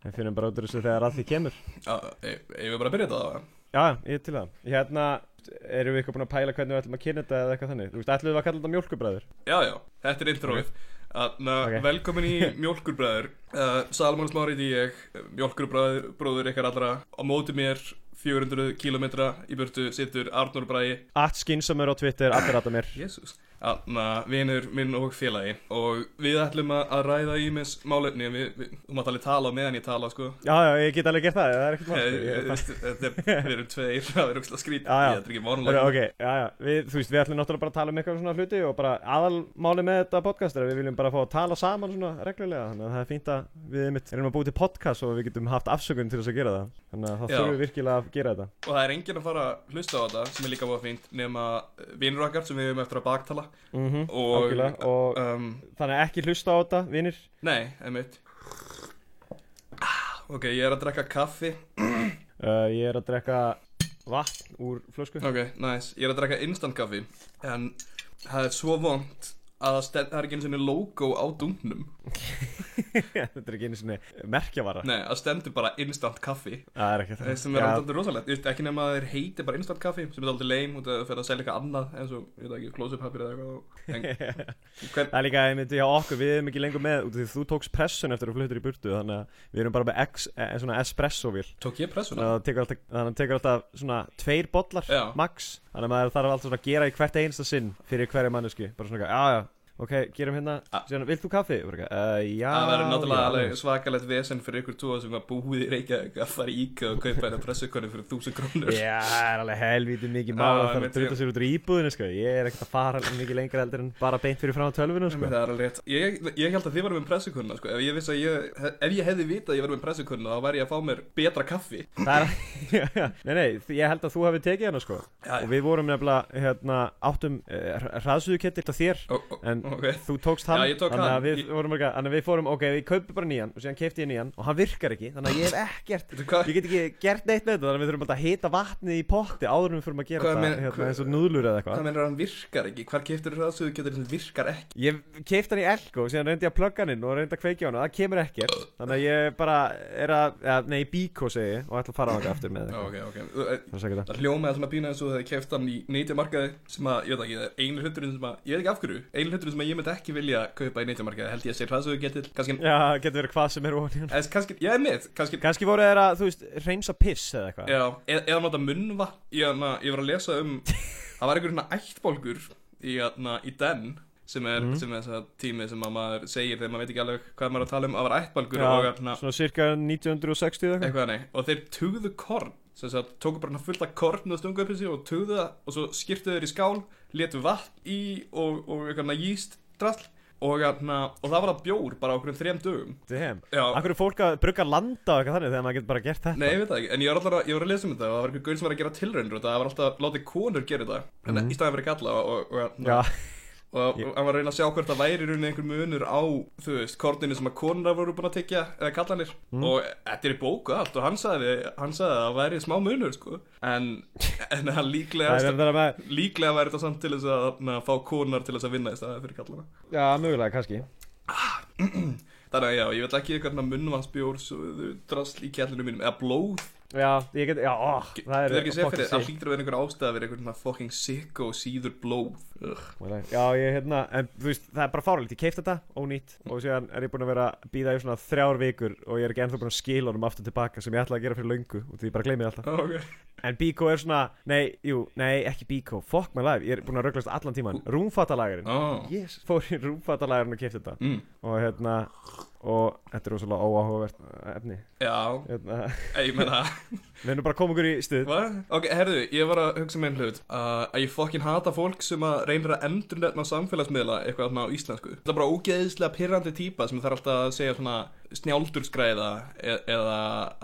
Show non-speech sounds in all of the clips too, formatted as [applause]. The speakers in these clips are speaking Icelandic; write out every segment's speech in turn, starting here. Við finnum bara út úr þessu þegar að því kemur Ég vil e, bara að byrja þetta það Já, ég er til það Hérna, erum við eitthvað búin að pæla hvernig við ætlum að kynna þetta eða eitthvað þannig Þú veist, ætlum við að kalla þetta mjólkubræður Já, já, þetta er introið Þannig að Ok. velkomin [laughs] í Mjólkurbræður uh, Salmónus Márið ég, Mjólkurbræður, bróður ykkar allra Á móti mér, 400 km í burtu, situr Arnur Bræði Allt skinsamur á Twitter, allir rata mér Jésús Þannig að vinur minn og félagi Og við ætlum að að ræða ímis málefni en við, við, Þú mátt alveg tala á meðan ég tala, sko Já, já, ég get alveg gert það, það er ekkert mál Eh, sko, ég- eh, það- Þetta er, við erum tveir, það er ógst að skrýta Já, já. Þetta er ekki Herra, vonulega Ok, já, já, við, þú veist, við ætlum náttúrulega bara að tala um eitthvað svona hluti og bara aðalmáli með þetta podcast er að við viljum bara fá að tala saman svona reglulega þannig að það er fínt að við einmitt erum að búið til podcast og við getum haft afsökun til þess að gera það þannig að það Já. þurfum við virkilega að gera þetta Og það er enginn að fara að hlusta á þetta sem er líka búið fínt nema eh, vinur okkar sem við hefum eftir að baktala mm og, Algjörlega, og- um, Þannig að ekki hlusta á þetta, vinir Nei, einmitt Ah, Ok, ég er að drekka kaffi uh, Ég er að drekka vatn úr flösku [laughs] Ok, nice, ég er að drekka instant kaffi En það er svo vond að það, stend, það er ekki einu sinni logo á dungnum Þetta er ekki einu sinni merkjavara Nei, það stendur bara instant kaffi Það er ekki það Eh, sem er Mm, Já, alltaf rosalegt, Ég veist, ekki nema að þeir heiti bara instant kaffi sem er alltaf leim og það fer að selja eitthvað annað eins og, ég veit ekki, close-up papir eða eitthvað [laughs] en, hvern, Það er líka, ég myndi hjá okkur, við erum ekki lengur með út af því þú tókst pressun eftir að flyttur í burtu þannig að við erum bara með ex, eh, svona espresso-vél Tók ég pressuna? þannig að það tekur alltaf, þannig að það tekur alltaf svona tveir bollar Já. max þannig að maður þarf alltaf svona að gera í hvert einsta sinn fyrir hverja manneski bara svona eitthvað, já já ok, gerum hérna, Ah. síðan, vilt þú kaffi? Og bara eitthvað, Uh, já, Það verður náttúrulega já, alveg svakalegt vesen fyrir ykkur tóa sem var búið í Reykjavík að fara í IKEA og kaupa þetta pressukonni fyrir 1000 krónur Já, það er alveg helvítið mikið Já, mál að það er einmitt, að druta já. sér út úr íbúðinu sko. Ég er ekkert að fara mikið lengra eldur en bara beint fyrir fram á tölvunum sko. Það er alveg rétt Ég, ég held að þið varum með pressukonna sko. ef, ég vissi að ég, ef ég hefði vitað að ég var með pressukonna þá væri ég að fá mér betra kaffi Það er, [laughs] nei, nei, þ- ég held að þú hafi tekið hana sko Já, Og við vorum nefnilega, hérna, áttum uh, hraðsuðukettil á þér Ó, ó, En ok. þú tókst hann Já, ég tók Þannig hann. að við Ég- vorum ekki, þannig að við fórum, ok, við kaupum bara nýjan Og síðan kefti ég nýjan og hann virkar ekki Þannig að ég hef ekkert, Veitu hvað- ég get ekki gert neitt með þetta Þannig að við þurfum alltaf að hita vatnið í potti Áður en við förum að gera Hvað þetta, meina- hérna, hvað- eins og núðlur eða Hvað eitthvað mennur hann virkar ekki? Hvar keftur það svo þú getur sem virkar ekki? Ég keift hann í elko, síðan reyndi ég að plugga hann inn og reyndi að kveikja hann og það kemur ekkert Þannig að ég bara er að, ja, nei, bíkó segi ég og ætla að fara á hann aftur með Ó, eitthvað Ok, ok Þú- eh, Það er sækert Það hljómaði svona pína eins og þegar keft hann í neytjamarkaði sem að, ég veit ekki, það er einu hluturinn sem að, ég veit ekki af hverju, einu hluturinn sem að ég myndi ekki vilja kaupa í neytjamarkaði, held ég að sé hvað svo kannski, Já, getur verið hvað sem er ofan í hann eða kannski, ég er með, kannski Kanski voru þeir að, þú veist, reynsa piss eða eitthvað Já, eða, eða nota munnva ég, hana, ég var að lesa um Það var einhver hérna ættbólgur í, hana, í den sem er, sem er þessa tími sem að maður segir þegar maður veit ekki alveg hvað maður er að tala um að var ættbólgur og hana, svona cirka 1960 eða eitthvað eitthvað nei og þeir tugðu korn sem sagt, tóku bara hana fullt af korn og stungu upp í sig og tugðu það og svo skiptu þeir í skál letu vatn í og, og eitthvað jíst drall og, hana, og það var það bjór bara á okkur þrejum dögum Damn Já. Akkur er fólk að brugga landa og eitthvað þannig þegar maður getur bara gert þetta Nei, ég veit það ekki, en ég var alltaf að, ég var að lesa um þetta og það var einhver gaur sem var að gera tilraunir og það var alltaf að láta konur gera þetta en í staðan fyrir kalla og, og, og, Mhm. Já, og, og hann var að reyna að sjá hvort það væri í rauninni einhver munur á, þú veist, korninu sem að konur voru búin að tekja, eða kallanir Mhm. og þetta er í bóku allt og hann sagði, hann sagði að það væri smá munur, sko en, en hann líklega [laughs] það er hérna- þetta með líklega væri þetta samt til þess að na, fá konar til þess að vinna í staðan fyrir kallana Já, mögulega, kannski Þannig að já, ég vil ekki eitthvað munnvansbjór, drasl í kjallinu mínum, eða blóð Já, ég get, já, ó, það Það er er ekki að segja fucking fyrir, það sick. hlýtur að vera einhver ástæða fyrir einhvern svona fucking sicko síður blóð Ugh. Mögulega. Já, ég, hérna, en þú veist, það er bara fáralegt Ég keift þetta, ónýtt Og síðan er ég búin að vera að býða í svona þrjár vikur Og ég er ekki ennþá búin að skila honum aftur tilbaka Sem ég ætlaði að gera fyrir löngu Og því ég bara gleymi því alltaf Ah, Ok, En Biko er svona, nei, jú, nei, ekki Biko Fuck my life, ég er búin að röglast allan tíman Rúmfatalagurinn Ó. yes. [laughs] Fór í rúmfatalagurinn og kefti þetta Ah. mm. Og hérna, og þetta er rosalega óáhugavert eh, efni Já, hérna, [laughs] ég [laughs] menna Við erum bara að koma okkur í stuð Hva? Ok, herðu, ég var að hugsa með einn hlut uh, Að ég fucking hata fólk sem að reynir að endurnetna samfélagsmiðla eitthvað svona á íslensku Það er bara ógeðislega pirrandi típa sem þarf alltaf að segja svona snjáldurskræða e eða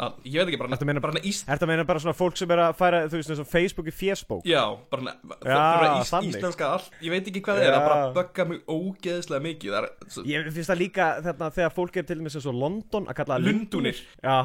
að, ég veit ekki bara Ertu að meina- bara ís Ertu að meina bara svona fólk sem er að færa, þú veist, eins og Facebook í fésbók? Já, bara, ne- Já, bara ís, þannig. íslenska allt, ég veit ekki hvað það Já. er, það bara bugga mig ógeðslega mikið, það er svo, Ég finnst það líka þarna þegar fólk er til dæmis eins og London að kalla það lundunir, Já,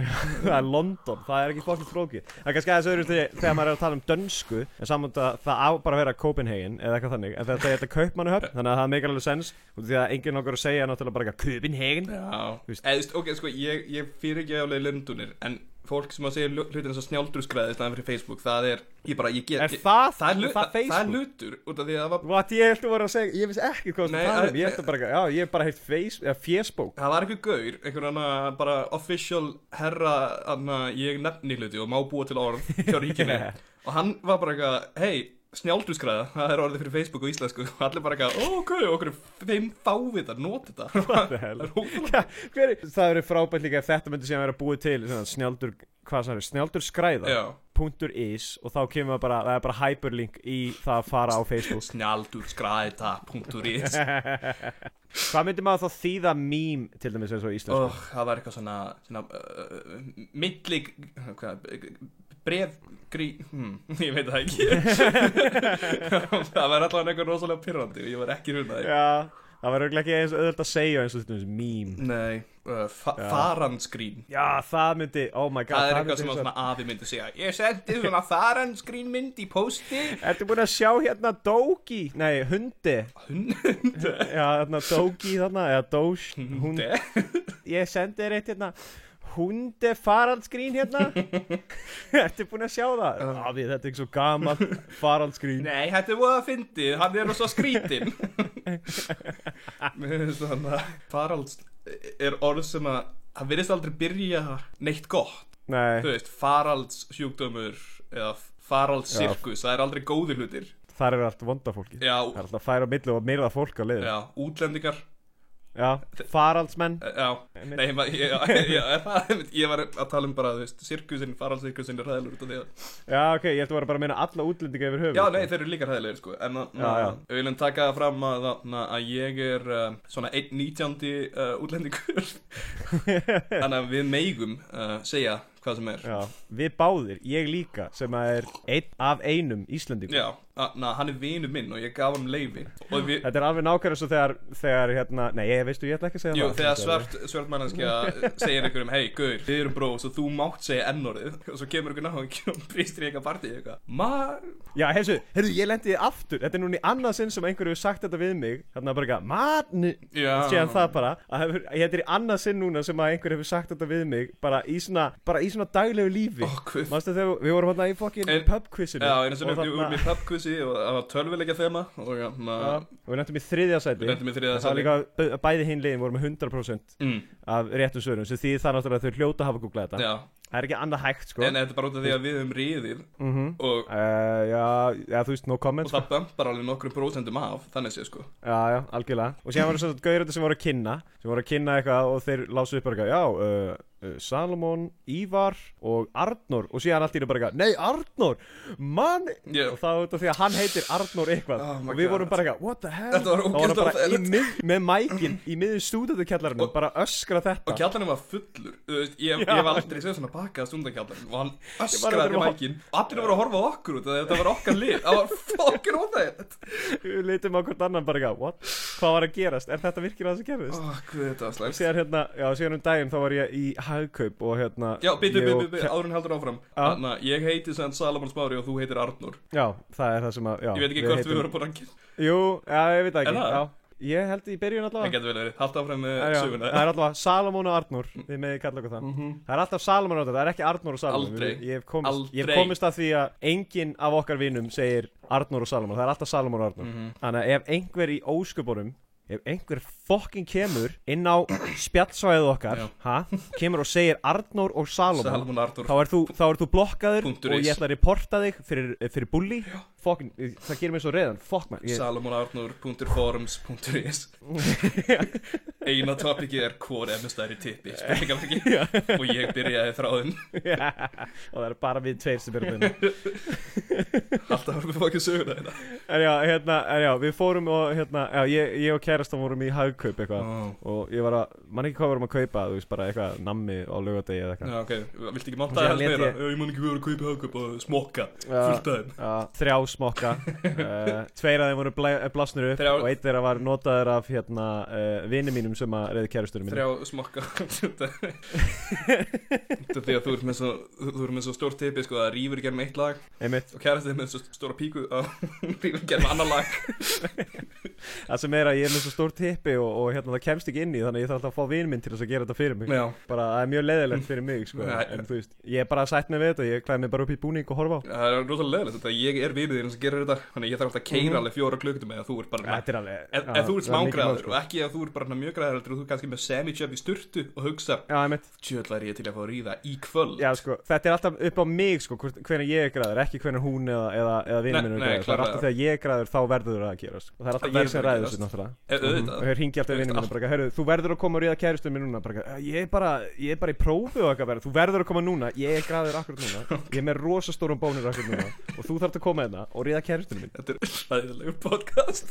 [laughs] það er London, það er ekki fólkið flókið Það er kannski aðeins öðru þegar maður er að tala um dönsku En saman það, það á bara að vera Copenhagen eða eitthvað þannig En þetta er þetta [laughs] kaupmannuhöfn, þannig að það meikar alveg sens út af Því að enginn okkur að segja náttúrulega bara eitthvað Copenhagen já, Þú veist- eða, þú veist, ok, sko, ég, ég fyrir ekki álega lundunir, en fólk sem að segja lu- hluti eins og snjáldurskræði staðan fyrir Facebook, það er, ég bara, ég get, Er ég, það, það, er, er lu- það það, það er Facebook? lutur, út af því að það var What, ég held að vera að segja, ég veist ekki hvað Nei, það tala að- um Ég held að bara, já, ég hef bara heilt Facebook, eða Facebook Það var einhver gaur, einhver annað bara official herra anna, ég nefni hluti og má búa til orð [laughs] hjá ríkinu og hann var bara eitthvað, hei, snjáldurskræða, það er orðið fyrir Facebook og íslensku og allir bara eitthvað, "Ó, ok, okkur er þeim fávita, nota þetta [laughs] the hell? Það er ótrúlega- Já, hver, er- Það verður frábært líka ef þetta myndi síðan vera búið til svona, Snjaldur, hvað það er, snjaldur skræða Já, .is og þá kemur bara, það er bara hyperlink í það að fara á Facebook snjáldurskræða.is Hvað myndir maður þá þýða mím til dæmis eins og í íslensku? og það var eitthvað svona, svona uh, milli hvað, bref grí, hmm, [laughs] ég veit það ekki það var allavega einhver rosalega pyrrandi og ég var ekki runnaði Já, það var auðvitað ekki eins auðvitað að segja eins og til dæmis mím Nei, uh, fa Já. faranskrín Já, það myndi, oh my god Það er myndi eitthvað sem eins að og- svona afi myndi segja Ég sendi svona faranskrínmynd í pósti Ertu búin að sjá hérna Dogi? Nei, hundi Hundu [laughs] Já, hérna Dogi þarna, eða Doge Hund- Hundu Ég sendi þér eitt hérna Hunde faraldsgrín hérna [laughs] Ertu búin að sjá það? Já. Afi, þetta er ekki svo [laughs] gaman faraldsgrín Nei, þetta er voða fyndið, hann er svo skrítin Mér finnst þannig að faralds eh, er orð sem að Það virðist aldrei byrja neitt gott Nei, Þú veist, faraldssjúkdómur eða faraldssirkus, það er aldrei góðir hlutir þar er allt vonda fólki Já, Það er alltaf að færa á milli og myrða fólk á leiðin já útlendingar eh, Já, faraldsmenn Já, Einmitt. nei, ma- ég, ég, ég, er það- einmitt, ég var að tala um bara, þú veist, sirkusinn, faraldsirkusinn er hræðilegur út af því að Já, ok, ég ætti bara að meina alla útlendinga yfir höfuð Já, nei, þeir eru líka hræðilegir, sko, en að- Já, já. við viljum taka það fram að, að, að ég er uh, svona einn nýtjandi uh, útlendingur [laughs] Þannig að við megum uh, segja hvað sem er Já, við báðir, ég líka, sem að er einn af einum Íslendingum Já, að, na, hann er vinu minn og ég gaf hann leifi Og við, Þetta er alveg nákvæmlega svo þegar, þegar hérna, nei, ég veistu, ég ætla ekki að segja jú, það þegar svart, svart manneskja segir einhverjum, hei, guður, við erum brós og þú mátt segja ennorðið Og svo kemur einhver náttúrulega og býstir í eitthvað partí eitthvað Ma, Já, heyrðu, heyrðu, ég lendi þið aftur, þetta er núna í annað sinn sem einhverju hefur sagt þetta við mig Þarna bara eitthvað, matni, Já. séðan það bara að hefur, Þetta er í annað sinn núna sem að einhverju hefur sagt þetta við mig Bara í svona, bara í svona daglegu lífi Ó, guð. Manstu þegar við- við vorum hérna í fokkin En- pubquizinu Já, einu sinni og við vorum í þarna- pubquizi og það var tölvileika þema og hérna, Já, og við lendum í þriðja sæti Við lendum í þriðja En það var sæti. líka að bæ- Bæði hinn liðin voru með 100% mm, af réttum svörum sem því það náttúrulega að þau hljóta að hafa googlað þetta já, það er ekki annað hægt sko en þetta er bara út af því að við höfum riðið og, Uh, já, já, þú veist, no comment og sko. það bömpar alveg nokkrum prósentum af, þannig sé sko Já, já, algjörlega Og síðan voru svo gaurið sem voru að kynna sem voru að kynna eitthvað og þeir lásu upp bara eitthvað Já, uh, uh, Salomon, Ívar og Arnór Og síðan allt í einu bara eitthvað Nei, Arnór, mann Já. Og það var þetta því að hann heitir Arnór eitthvað Oh my Og við God. vorum bara eitthvað, what the hell Þetta var Það ógeðslega bara í óþægilegt. mið, með mækin í miðjum stúdentakjallarinu Og- Bara öskra þetta Og kjallarinn var fullur, þú veist, ég, Já. ég var aldrei séð svona bakað stundakjallarinn og hann aldrei öskraði að- mækinn og allir voru að horfa á okkur út af því að þetta var okkar lið, það var fokkin óþægilegt Við leitum á hvort annan bara eitthvað, what? Hvað var að gerast? Er þetta virkilega það sem gerðist? Ó, hvað þetta var slæmt síðan hérna, já, síðan um daginn þá var ég í hagkaup og hérna Já, byrju, ég byrju, og- byrju, árun heldur áfram Já. Þannig að ég heiti sem Salomon Smári og þú heitir Arnur Já, það er það sem að, já Ég veit ekki hvort við vorum búin að Jú, já, ég veit það Er ekki, það? já Ég held í byrjun Það allavega getur vel verið, haldt áfram með Ah. Já, já, söguna Það er allavega Salomon og Arnur, við megið kalla okkur það Það er alltaf Salomon og Arnur, það er ekki Arnur og Salomon Aldrei. Við- Ég hef komist, Ég hef Aldrei. komist að því að enginn af okkar vinnum segir Arnur og Salomon Það er alltaf Salomon og Arnur Mhm. Þannig að ef einhver í ósköpunum Ef einhver fokkin kemur inn á spjallsvæðið okkar Já. ha, Kemur og segir Arnur og Salomon Salomon Arnur þá er þú, þá er þú blokkaður Punktur og is. ég ætla að reporta þig fyrir, fyrir bulli fokkin, það gerir mér svo reyðan, fokk maður ég- [laughs] salomonarnur.forums.is Eina topikið er hvor emnist er í [laughs] tippi spurningamarki og ég byrjaði þráðin og það er bara við tveir sem erum vinna alltaf vorum við fokkið söguna þetta [laughs] en já, hérna, en já, við fórum og hérna, já, ég, ég og kærastan vorum í hagkaup eitthvað oh. og ég var að, mann ekki hvað vorum að kaupa þú veist, bara eitthvað nammi á lögadegi eða eitthvað Já, ok, viltu ekki Og monta síðan það lét meira? ég- Ah. Ég, ég man ekki við vorum að kaupa hagkaup og smokka Já. fullt aðeim Já, þrjá [laughs] smokka uh, tveir af þeim voru bla, blasnur upp Þrjá- og einn þeirra var notaður af hérna, uh, vini mínum sem að reyði kærasturum mínum Þrjá smokka [laughs] Þetta [laughs] er því að þú ert með svo, þú ert með svo stór tippi sko, það rýfur í gerum eitt lag einmitt, og kærastið með svo stóra píku [laughs] að hún rýfur í gerum annar lag það sem er að ég er með svo stór tippi og, og hérna, það kemst ekki inn í þannig að ég þarf alltaf að fá vini minn til þess að gera þetta fyrir mig Já, bara það er mjög leiðilegt fyrir mig sko, Nei. en þú veist, ég er bara sætt með við þetta ég klæði mig bara upp í búning og horfa á það er rosalega leðilegt þetta ég er vinið þín sem gerir þetta þannig að ég þarf alltaf að keira Mhm. alveg fjóra klukkutum eða þú ert bara Þetta er alveg Ef, já, ef þú ert það er mikið mál, smángræður sko. og ekki ef þú ert bara mjög græður heldur og þú ert kannski með semi-job í sturtu og hugsa Já, einmitt Tjöðla er ég til að fá að ríða í kvöld Já, sko, þetta er alltaf upp á mig, sko, hvort- hvenær ég er græður, ekki hvenær hún eða, eða, eða Nei, vinnur minn er nei, græður. Það er klárlega. alltaf þegar ég er græður, þá verður það að gerast. Og það er alltaf Það ég sem verður að ræður gerast. þessu, náttúrulega. Eh, auðvitað. Mhm. Og hér hingi alltaf Þú veist, vinnum minn og bara, herru, þú verður að koma og ríða kæristum minn núna. Bara, eitthvað, ég er bara, ég er bara í prófi og eitthvað verður. Þú verður að koma núna, ég er græður akkurat [laughs] núna. Ég er með rosastórum bónir akkurat núna. Og þú þarft að koma hérna og ríða kæristum minn. Þetta er hlæðilegur [laughs] podcast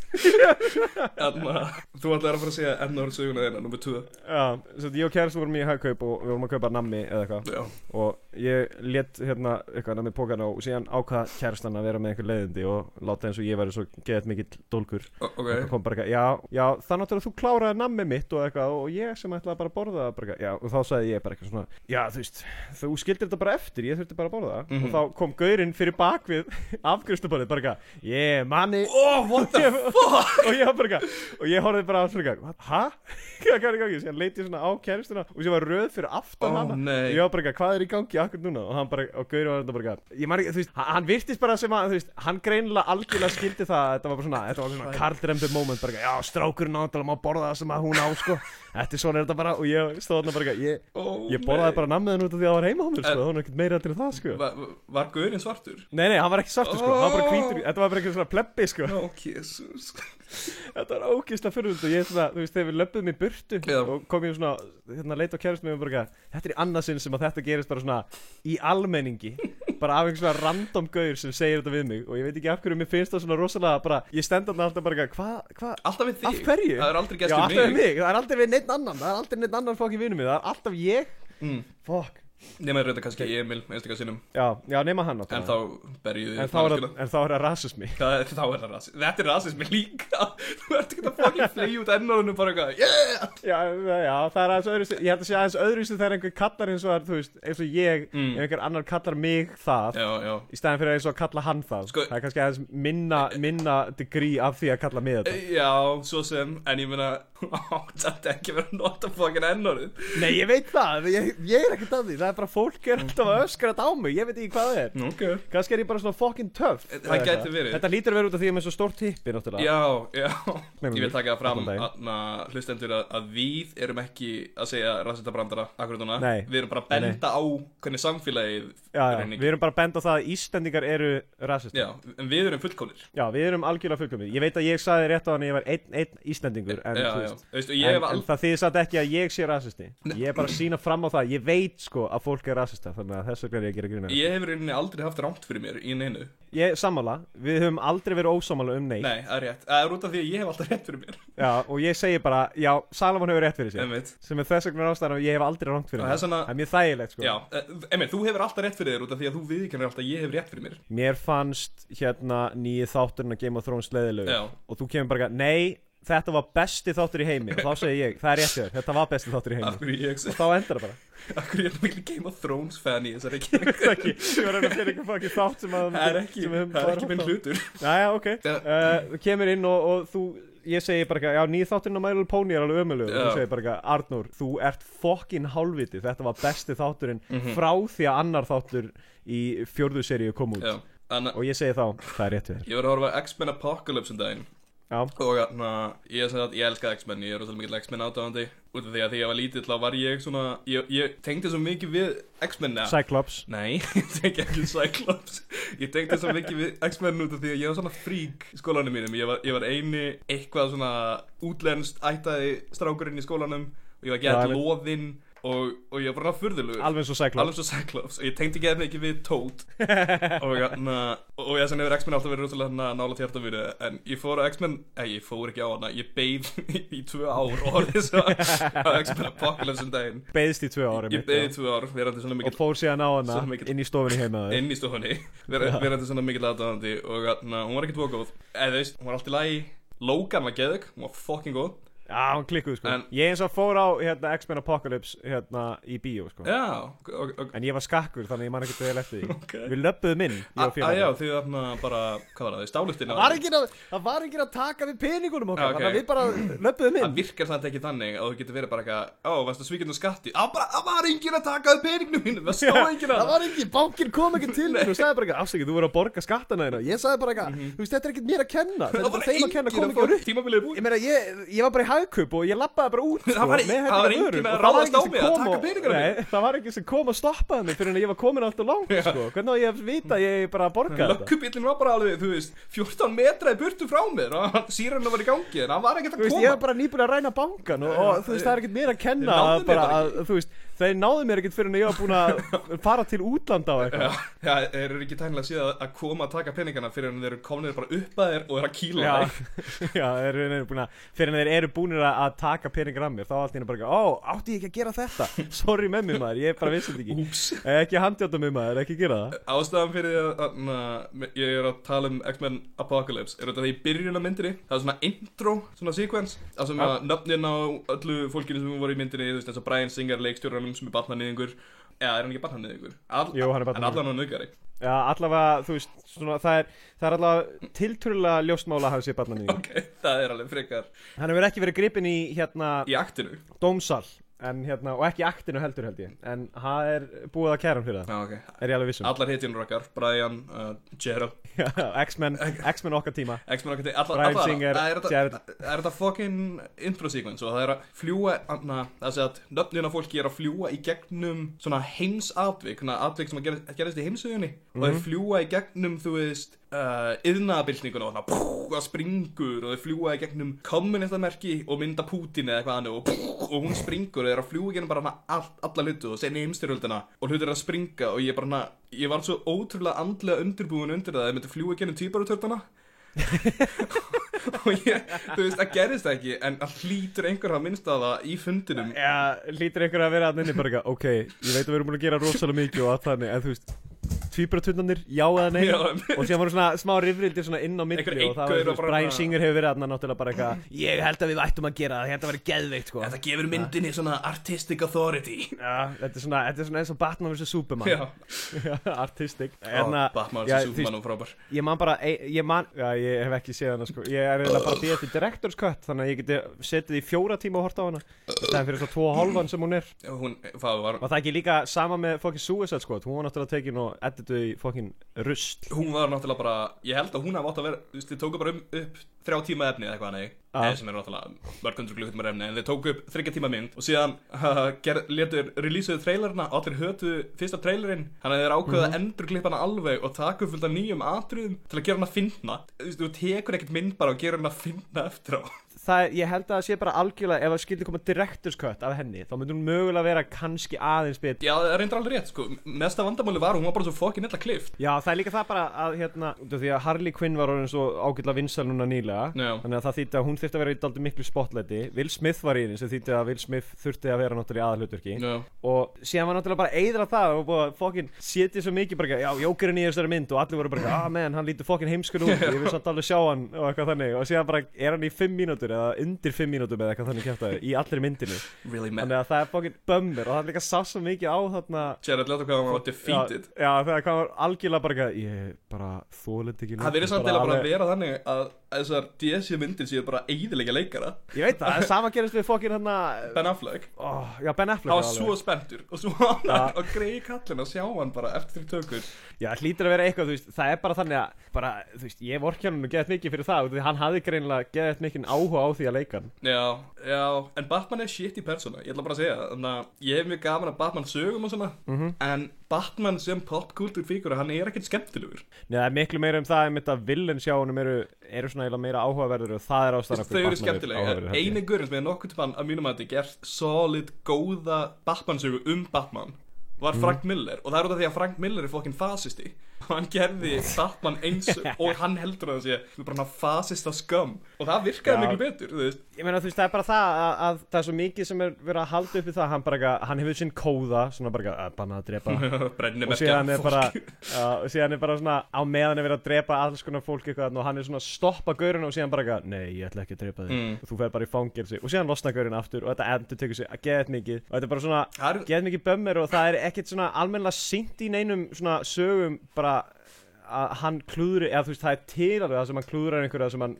Enna Þú ætlaði að fara að segja ennáður söguna þeirna Númer 2 Já, svo ég og kæristum vorum í hagkaup og við vorum að kaupa nammi eða eitthvað. Já og ég let hérna eitthvað með pókan á og síðan ákvað kærastan að vera með einhver leiðindi og láta eins og ég væri svo geðið mikill dólkur O- Ok og kom bara eitthvað, já, já, það náttúrulega þú kláraði nammi mitt og eitthvað og ég sem ætlaði bara að borða það, bara eitthvað, já, og þá sagði ég bara eitthvað svona, já, þú veist, þú skildir þetta bara eftir, ég þurfti bara að borða það Mhm. og þá kom gaurinn fyrir [laughs] bakvið afgristuborðið, bara eitthvað, yeah, manni Oh, what the [laughs] fuck og ég var bara eitthvað og ég horfði bara á svona eitthvað hæ? [laughs] hvað er í gangi? síðan leit ég svona á kæristuna og sér var röð fyrir aftan Ó, hana nei. ég var bara eitthvað hvað er í gangi akkur núna og hann bara og Gauri var þetta bara eitthvað ég man ekki þú veist hann- hann virtist bara sem að þú veist hann greinilega algjörlega skildi það að þetta var bara svona þetta var svona kardremdu moment bara eitthvað já strákurinn náttúrulega má borða það sem að hún á sko þetta er svona er þetta bara og ég stóð þarna bara eitthvað ég, oh, ég borðaði bara nammiðan út af því að það var heima á mér sko En- það var nú ekkert meira til það sko Var, var gaurinn svartur? Nei, nei, hann var ekki svartur sko, hann var bara Ó. hvítur, þetta var bara eitthvað svona plebbi sko Ó, jésus Þetta var ógeðslega fyrirhund og ég svona, þú veist, þegar við löpum í burtu Já. og kom ég svona, hérna, leit á kærist með mér bara, eitthvað, þetta er í annað sinn sem að þetta gerist bara svona í [laughs] almenningi, bara af einhvers vegar random gaur sem segir þetta við mig og ég veit ekki af hverju mér finnst það svona rosalega bara, ég stend þarna alltaf bara, eitthvað, hvað, hvað, Alltaf við þig af hverju? Það er aldrei Já, gæst alltaf við við mig mig, það er aldrei við neitt annan, það er aldrei neitt annan fokk í vinum mig, það er alltaf ég, Mm. fokk, Nefnir reynda kannski Emil Einstaka sinnum já, já, nema hann En náttúrulega. þá berjuðu en þá er það, en þá er það rasismi. Það, þá er það rasism, þetta er rasismi líka [laughs] Þú ert ekki að fucking flegi út ennáðunum bara eitthvað Yeah Já, já, það er aðeins öðruvísi, ég held að sé aðeins öðruvísi þegar einhver kallar eins og það, þú veist, eins og ég, Mm. ef einhver annar kallar mig það, Já, já í staðin fyrir eins og að kalla hann það, Sko- Eh, það er kannski aðeins minna, minna degree af því að kalla mig þetta. Já, svo sem, en ég meina hún átt að ekki vera að nota fokkin ennórið Nei, ég veit það, ég, ég er ekkert að því, það er bara fólk er alltaf að öskra þetta á mig, ég veit ekki hvað það er. Ok Kannski er ég bara svona fucking tough. Mm. Eh, Það eða gæti eitthvað. verið. Þetta lítur að vera út af því að ég er með svo stórt tippi, náttúrulega. Já, já Nei, Ég vil taka það fram allan daginn. aðna hlustendur að, að við erum ekki að segja rasista brandara akkurat núna Nei. Við erum bara að Nei, nei. benda á hvernig samfélagið Já, já, er við erum bara að benda á það að Íslendingar eru rasist. Já, en við erum fullkónir Já, við erum algjörlega fullkomið. Ég veit að ég saði rétt á hann að ég var einn ein Íslendingur, en Já, þú já, veist, þú veist, og En, ég hef en aldrei það þýðir satt ekki að ég sé rasisti Ég er bara að sína fram á það Ég veit sko að fólk er rasista Þannig að þess vegna er ég að gera grína Ég hef í rauninni aldrei haft rámt fyrir mér í neinu Ég sammála, við höfum aldrei verið ósammála um neitt Nei, það er rétt Það er út af því að ég hef alltaf rétt fyrir mér Já, Og ég segi bara, já, Salomon hefur rétt Sko. fyrir sér Einmitt Sem er þess vegna ástæðan að ég hef aldrei rangt fyrir Og mér. þess vegna- Það er mjög þægilegt sko Já, emir, þú hefur alltaf rétt fyrir þér út af því að þú viðkennir alltaf að ég hef rétt fyrir mér Mér fannst hérna nýju þátturinn að Game of Thrones leðilegu Já. Og þú kemur bara, nei, þetta var besti þáttur í heimi Og þá segi ég, það er rétt fyrir, þetta var besti þáttur í Af heimi hverju ég Og þá endar það [laughs] bara Akkur ég er mikil Game of Thrones fan í þessari kynningu [laughs] Það er ekki, ég var að reyna að finna eitthvað fucking þátt sem að- Það er ekki, sem við höfum það er bara ekki horft minn á. hlutur Jæja, ok Já. uh, Þú kemur inn og, og þú Ég segi bara eitthvað, já, nýð þátturinn á My Little Pony er alveg ömulug og Já. þú segir bara eitthvað, Arnór, þú ert fokkin hálviti þetta var besti þátturinn Mhm. frá því að annar þáttur í fjörðu seríu kom út Já, þannig og ég segi þá, það er rétt við þér að ég var að horfa á X-Men Apocalypse um daginn Já, og na, ég, sem sagt, ég elska X-Men, ég er rosalega mikill X-Men átáðandi út af því að því ég var lítill þá var ég svona, ég, ég tengdi svo mikið við X-menna Cyclops Nei, [laughs] ég tengdi ekki við Cyclops Ég tengdi svo mikið við X-menn út af því að ég var svona frík í skólanum mínum Ég var, ég var eini eitthvað svona útlenskt ættaði strákurinn í skólanum og ég var Já, gett einmitt. loðinn og, og ég var bara furðulugur Alveg eins og Cyclops Alveg svo Cyclops og ég tengdi ekki mikið við [laughs] Toad og, hérna, og ég sem hefur X-Men alltaf verið rústulega hérna nála tjarta fyrir en ég fór á X-Men, eða ég fór ekki á hana ég beið [laughs] í, tvö ár og horfði [laughs] svo á X-Men Apocalypse um daginn Beðist í tvö ári ég beið í tvö ár, verandi svona Og mikill fór síðan á hana Svo mikill- inn í stofunni heima þér inn í stofunni, [laughs] ver- verandi svona mikill aðdáðandi og hérna, hún var ekki tvo góð eða þú veist, hún var alltaf lægi, Logan var geðug hún var fucking góð, Já, hún klikkuð sko En- Ég eins og fór á hérna, X-Men Apocalypse hérna, í bíó sko já og, og, En ég var skakkur þannig ég man ekki til að leta því Ok. Við löppuðum inn ég og að að Ah, já, félagið. því þarna bara, hvað var það, stáluftin Það var enginn að- Það var ekki að taka við peningunum okkar Já, ok. Þannig að við bara löppuðum Það inn virkar samt ekki þannig að þú getur verið bara eitthvað Á, varstu svíkjandi skatti um Á, bara, það var enginn að taka þau peninginu mínu Það stóð enginn að Það var ekki, bankin kom ekki til mér og sagði bara eitthvað, afsækið, þú voru að borga skattana þína. Ég sagði bara eitthvað, þú veist, þetta er ekkert mér að kenna, þetta er Mhm. bara Það var þeim að kenna, kom enginn að ekki að fá tímabilið búið Ég meina, ég, ég var bara í hagkaup og ég lappaði bara út sko, var- með það hérna var enginn vörur og að það var ráðast enginn sem á mig að kom taka og- peningana Nei, mína. Það var ekki sem kom og stoppaði mig fyrir en ég var komin alltaf langt sko. Hvernig á ég að vita að ég bara borgaði þetta? Lökkubillin var bara alveg, þú veist 14 metra í burtu frá mér Og [laughs] sírenna var í gangi En hann var ekkert Þú að veist, koma ég var bara nýbúin að ræna bankan og, og þú veist, það er ekkert mér að kenna Þeir náðu að mér bara, bara að, þú veist, þeir náðu mér ekkert fyrir en ég var búin [laughs] að fara til útlanda á eitthvað Já, já, þeir eru ekki tænilega síðan að koma að taka peningana Fyrir en þeir eru komnir bara upp að þér Og eru að kýla Já, þig já þeir eru búin að, fyrir en þeir eru búinir að að taka peningar af mér, þá allt í henni bara, ekki, ó, átti ég ekki að gera þetta, [laughs] sorry með mér maður, ég bara vissi þetta ekki, Úps Eh, ekki handjáta með maður, ekki gera það. Ástæðan fyrir því að na, ég er að tala um X-Men Apocalypse er þetta því í byrjun á myndinni það er svona intro, svona sequence það sem að nöfnin á öllu fólkinu sem voru í myndinni þú veist eins og Brian Singer, leikstjóranum sem er barnanýðingur eða er hann ekki barnanýðingur? All, Jú, hann er en barnaníðingur. allan á nöðgari Já, allavega, þú veist, svona, það er, það er allavega tiltrúlega ljóstmála að hafa sér barna nýjum. ok, það er alveg frekar Hann hefur ekki verið gripinn í, hérna, í aktinu dómsal, en hérna, og ekki í aktinu heldur held ég, en hann er búið að kæra hann fyrir það, Já, okay. er ég alveg um? vissum. allar hitjunur okkar, Brian, uh, Gerald [laughs] X-Men, X-Men okkar tíma. X-Men okkar til allar Brian allar- Singer, það er þetta- Jared. Það er þetta fucking intro sequence og það er að fljúa anna, það sé að nöfnina fólki er að fljúa í gegnum svona heimsatvik svona atvik sem að gerist, gerist í heimsögunni og Mhm. þeir fljúa í gegnum þú veist uh, yðnaðabildninguna og þannig að það springur og þeir fljúa í gegnum kommunistamerki og mynda Putin eða eitthvað annað og, pff, og hún springur og þeir eru að fljúa í gegnum bara hana all, alla hlutu og senni heimstyrjöldina og hlutur er að springa og ég bara hana ég var svo ótrúlega andlega undirbúin undir það að þeir myndi fljúa í gegnum týparutörnana og ég, þú veist, það gerist ekki en það hlýtur einhver að minnsta það í fundinum Já, lítur einhver að vera að nynni bara eitthvað, ok, ég veit að við erum búin að gera rosalega mikið og allt þannig, en þú veist, tvíbratundanir, já eða nei, Já, einmitt. og síðan voru svona smá rifrildir svona inn á milli Einhver- og það var, einhver er þú veist, bara- Brian Singer hefur verið að náttúrulega bara eitthvað, ég held að við ættum að gera það, ég held að vera geðveikt, sko. en það gefur myndinni svona artistic authority Já, þetta er svona, þetta er svona eins og Batman vs. Superman, [laughs] já, artistik. Hérna, Ó, Batman sem Superman og frábær Ég man bara, ég, ég man, já ég hef ekki séð hana sko Ég er eiginlega bara að býja til director's cut Þannig að ég geti setið í fjóra tíma og horta á hana Það er fyrir svo tvo og hálfan sem hún er hún, það var, Var það ekki líka sama með fokkin Suicide Squad? Hún var náttúrulega tekin og edituð í fokkin rusl hún var náttúrulega bara ég held að hún hafði átt að vera, þú veist, þið tóku bara um, upp þrjá tíma efni eða eitthvað nei Já. eða sem er náttúrulega mörg hundru klukkutíma efni en þið tóku upp þryggja tíma mynd og síðan uh, ger, letur, releaseuðu trailerna og allir hötu fyrsta trailerinn þannig að þeir ákveða Mhm. að endur hana alveg og taka upp fullt af nýjum atriðum til að gera hana fyndna þú veist, þú tekur ekkert mynd bara og gera hana fyndna eftir á [laughs] Það er, ég held að það sé bara algjörlega Ef það skildi koma director's cut af henni Þá myndi hún mögulega vera kannski aðeins betri já, það er reyndar alveg rétt, sko, mesta vandamáli var að hún var bara svo fokkin illa klift Já, það er líka það bara að hérna út af Því að Harley Quinn var orðin svo ágætla vinsal núna nýlega Já. Þannig að það þýtti að hún þurfti að vera í daldi miklu spotlighti Will Smith var í henni sem þýtti að Will Smith þurfti að vera náttúrulega í aðalhlutverki Já. og síðan var náttúrulega bara eðra það og búið að fokkin setja svo mikið bara, já, jókurinn í þessari mynd og allir voru bara, ah menn, hann lítur fokkin heimskun út ég vil samt alveg sjá hann og eitthvað þannig og síðan bara er hann í fimm mínútur eða undir fimm mínútur eða eitthvað þannig kjátaði í allir myndinu really man þannig að það er fokkin bömmir og það er líka sá svo mikið á þarna Jared Leto hvað hann var defeated Já, já, þegar hann var algjörlega bara, eitthvað, ég bara þólend ekki Það lengur, verður samt eða bara að alveg- vera þannig að þessar DSC myndir séu bara eiðilega leikara Ég veit það, það er sama gerist við fokkin hérna Ben Affleck oh, Já, Ben Affleck Það var alveg. svo spenntur og svo annar Ja. og greiði kallin að sjá hann bara eftir tökur Já, það hlýtur að vera eitthvað, þú veist, það er bara þannig að bara, þú veist, ég vorkja hann og geðað mikið fyrir það og því hann hafði greinilega geðað mikið áhuga á því að leika hann Já, já, en Batman er shit í persóna, ég ætla bara að segja það, þannig að ég hef mjög gaman að Batman sögum og svona Mhm. En Batman sem popkultur fígura, hann er ekkert skemmtilegur Nei, það er miklu meira um það en mitt að villin sjá honum eru, eru svona eiginlega meira áhugaverður og það er ástæðan af Þau hverju eru Batman er skemmtilega, áhugaverður, held ég. eini gurinn sem er nokkuð fann að mínum að þetta gert solid góða Batman sögu um Batman var Mm. Frank Miller og það er út af því að Frank Miller er fokkin fasisti og hann gerði [laughs] Batman eins og hann heldur að það sé bara hann fasista skömm og það virkaði Já. miklu betur, þú veist Ég meina þú veist það er bara það að, að það er svo mikið sem er verið að halda upp í það hann bara eitthvað, hann hefur sinn kóða svona bara eitthvað, að banna að drepa Ah. [laughs] og Brennimerkja síðan er fólk. bara uh, og síðan er bara svona á meðan er verið að drepa alls konar fólk eitthvað þarna og hann er svona að stoppa gaurinn og síðan bara eitthvað, nei ég ætla ekki að drepa þig Mm. og þú fer bara í fangelsi og síðan losna gaurinn aftur og þetta endur tekur sig að geðað mikið og þetta er bara svona Það er- geðað mikið bömmir og það er ekkert svona almennilega sýnt í neinum svona sögum bara að hann klúðri eða þú veist það er til alveg það sem hann klúðrar einhverja sem hann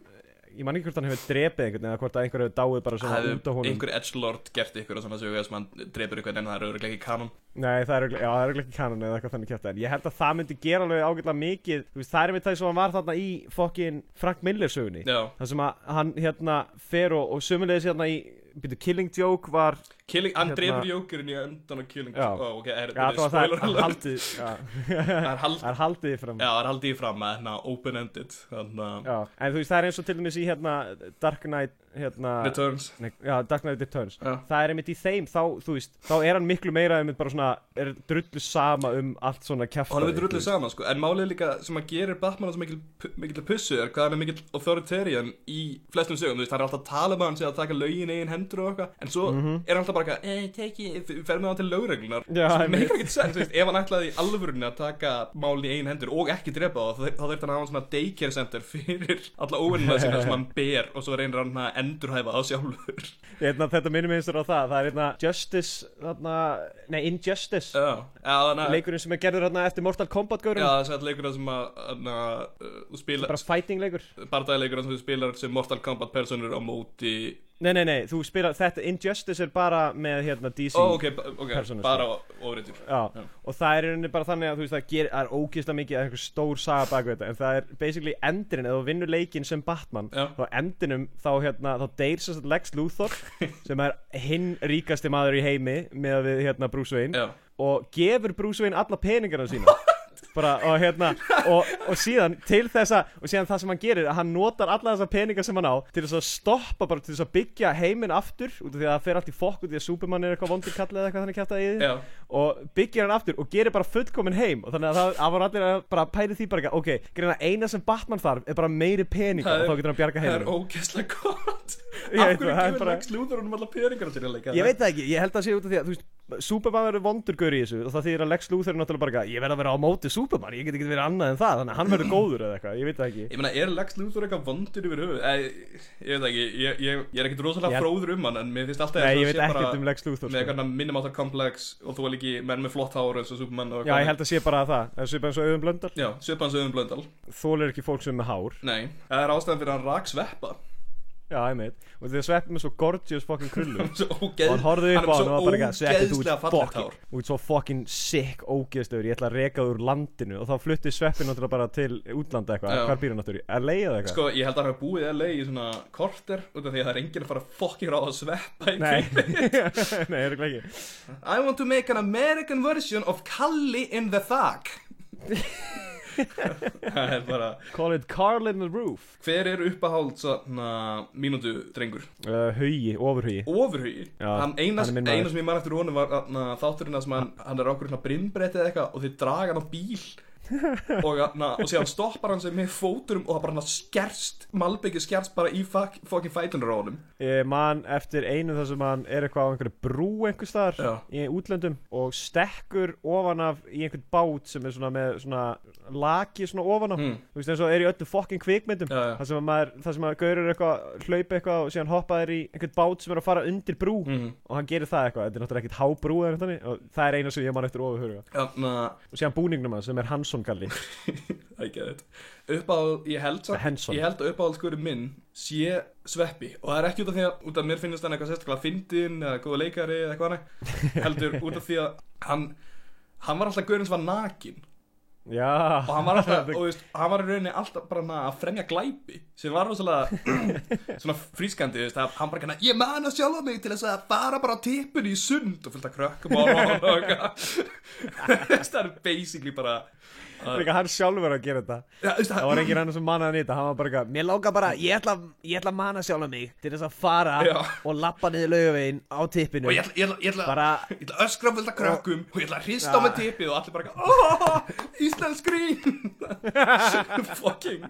ég man ekki hvort hann hefur drepið einhvern eða hvort að einhver hefur dáið bara svona út á hefði honum einhver edgelord gert ykkur og svona sögja sem hann drefur ykkur en það er örugglega ekki kanon Nei, það er örugglega- já, það er örugglega ekki kanon eða eitthvað þannig kjátt En ég held að það myndi gera alveg ágætlega mikið Þú veist, það er mitt það sem hann var þarna í fokkin Frank Miller sögunni Já. Það sem að hann hérna fer og, og sömulegis hérna í Býtu, Killing Joke var Killing, hann Hérna- drefur jókurinn í endan á Killing Já. Ó, ok, er, Já, það var það spoiler er alert haldið já, Það er hald Það er haldið fram Já, það er haldið í fram að hérna open-ended Þannig að Já, En þú veist, það er eins og til dæmis í hérna Dark Knight hérna Returns Nei, já, Dark Knight Returns Já. Það er einmitt í þeim, þá, þú veist, þá er hann miklu meira einmitt bara svona, er drullu sama um allt svona kjafta Og hann er við drullið saman sko En málið er líka sem að gerir Batman svo mikil, mikil pussu er hvað hann er mikil authoritarian í flestum sögum Þú veist, hann er alltaf að tala með hann sér að taka lögin í eigin hendur og eitthvað En svo er hann alltaf bara eitthvað Eh, teki, fer með hann til lögreglunar Já, Sem einmitt. meikar ekkert sens, þú veist Ef hann ætlaði í alvörunni að taka málin í eigin hendur og ekki drepa það Þá þurft hann að hafa svona daycare center fyrir alla óvinnuna sína sem hann ber Og svo reynir hann að endurhæfa það sjálfur Einna, Hérna, þetta minnum einstur á það, það er einna Justice, þarna, nei Injustice Já, já, þannig að Leikurinn sem er gerður þarna eftir Mortal Kombat Uh, Já, gaurum þess að leikurinn sem að, þarna, uh, þú spila, Bara fighting leikur bardagaleikur sem þú spilar sem Mortal Kombat personur á móti Nei, nei, nei, þú spilar, þetta Injustice er bara með hérna DC Ó, Oh, ok, ba- ok, Persónu, bara ofreitur Já, Já. og það er í rauninni bara þannig að þú veist það, ger, það er ógeðslega mikið að einhver stór saga bak við þetta en það er basically endurinn, ef þú vinnur leikinn sem Batman Já. þá endinum þá hérna þá deyr sérst Lex [laughs] Luthor sem er hinn ríkasti maður í heimi með að við hérna Bruce Wayne Já. og gefur Bruce Wayne alla peningarna [laughs] sína bara, og hérna og, og síðan til þessa og síðan það sem hann gerir að hann notar alla þessa peninga sem hann á til þess að stoppa bara til þess að byggja heiminn aftur út af því að það fer allt í fokk út af því að Superman er eitthvað vondur kallið eða eitthvað þannig kæft að í Já. og byggir hann aftur og gerir bara fullkomin heim og þannig að það það voru allir að bara pæli því bara eitthvað, ok, greina eina sem Batman þarf er bara meiri peninga Það er- og þá getur hann bjarga Það er heiminum ógeðslega gott Ég Af veit hverju það, það er gefur bara- Lex Luthor honum alla peningar til að leika Ég veit það ekki, ég held að sé út af því að, þú veist, Superman verður vondurgur í þessu og það þýðir að Lex Luthor er náttúrulega bara eitthvað, ég verð að vera á móti Superman, ég get ekki verið annað en það, þannig að hann verður góður eða eitthvað, ég veit það ekki. Ég meina, er Lex Luthor eitthvað vondur yfir höfuð? Æ, ég veit það ekki, ég, ég, ég er ekkert rosalega Ég- fróður um hann En mér finnst alltaf Nei, eins og ég veit sé bara ekkert um Lex Luthor, Með sko. eitthvað minnumáttar komplex Og þú er líki menn með flott hár eins og Superman og Já, ég held að sé bara það, það er svipað eins og auðum blöndal, Já, Sveppan Söðum Blöndal þólir ekki fólk sem er með hár, Nei, það er ástæðan fyrir að hann rak sveppa já, ég veit, og því að sveppi með svo gorgeous fucking krullum. Svo Og ógeð- hann horfði upp á hann og var bara eitthvað Sveppið, þú ógeðslega ert fallegt hár fucking, þú ert svo fucking sick ógeðstöður Ég ætla að reka þú úr landinu Og þá flutti sveppið náttúrulega bara til útlanda eitthvað Já. Hvar býr hann náttúrulega? Er leið eitthvað? Sko, ég held að hann hafi búið í LA í svona korter út af því að það er enginn að fara að fokkin ráða að sveppa í [laughs] Nei, [laughs] kringum. nei, er ekki I want to make an American version of Kalli in the [laughs] Thag Það er bara Call it Carl in the Roof Hver er uppahald svona mínútu drengur? uh, Hugi, ofurhugi Ofurhugi Já, Hann eina hann er minn maður. eina sem ég man eftir honum var na, þátturinn að sem hann, hann er okkur brimbretti eða eitthvað og þið draga hann á bíl [laughs] og, na, og síðan stoppar hann sig með fóturum og það bara hann skerst malbyggið skerst bara í fuck- fucking fætunur á honum Ég Eh, man eftir einu þar sem hann er eitthvað á einhverju brú einhvers þar Já. í útlöndum og stekkur ofan af í einhvern bát sem er svona með svona laki svona ofan á Mm. þú veist eins og er í öllu fokkin kvikmyndum Já, já. þar sem að maður, þar sem að gaurur eitthvað hlaupa eitthvað og síðan hoppa þær í einhvern bát sem er að fara undir brú mm. og hann gerir það eitthvað, þetta er náttúrulega ekkert hábrú eða neitt þannig og það er eina sem ég man eftir ofurhuga Þannig að og síðan búningnum hans sem er Hanson Henson [laughs] galli ekki að þetta uppáhald, ég held The Henson. samt ég held að uppáhaldskurinn minn sé sveppi og það er ekki út af því að út af mér finnist hann eitthvað sérstaklega fyndin eða góða leikari eða eitthvað hann heldur út af því að hann hann var alltaf gaurinn sem var nakin Já og hann [laughs] var alltaf, og þú veist, hann var í rauninni alltaf bara svona að fremja glæpi sem var rosalega [clears throat] svona frískandi, þú veist, að hann bara kannar ég man að sjálfa mig til þess að fara bara á tippinu í sund og fylgta krökkum á hann og eitthvað [laughs] Þú veist, það er basically bara Líka hann sjálfur að gera þetta ja, þú veist, Það var engin annar sem mannaði nýta Hann var bara eitthvað Mér láka bara Ég ætla, ég ætla að manna sjálfur mig Til þess að fara Já. Og lappa niður laugavegin Á tippinu og ég ætla, ég ætla, ég ætla, Bara- ég ætla að öskra fullt af krökkum og ég ætla að hrista á mig tipið og allir bara oh, Íslands grín [laughs] fucking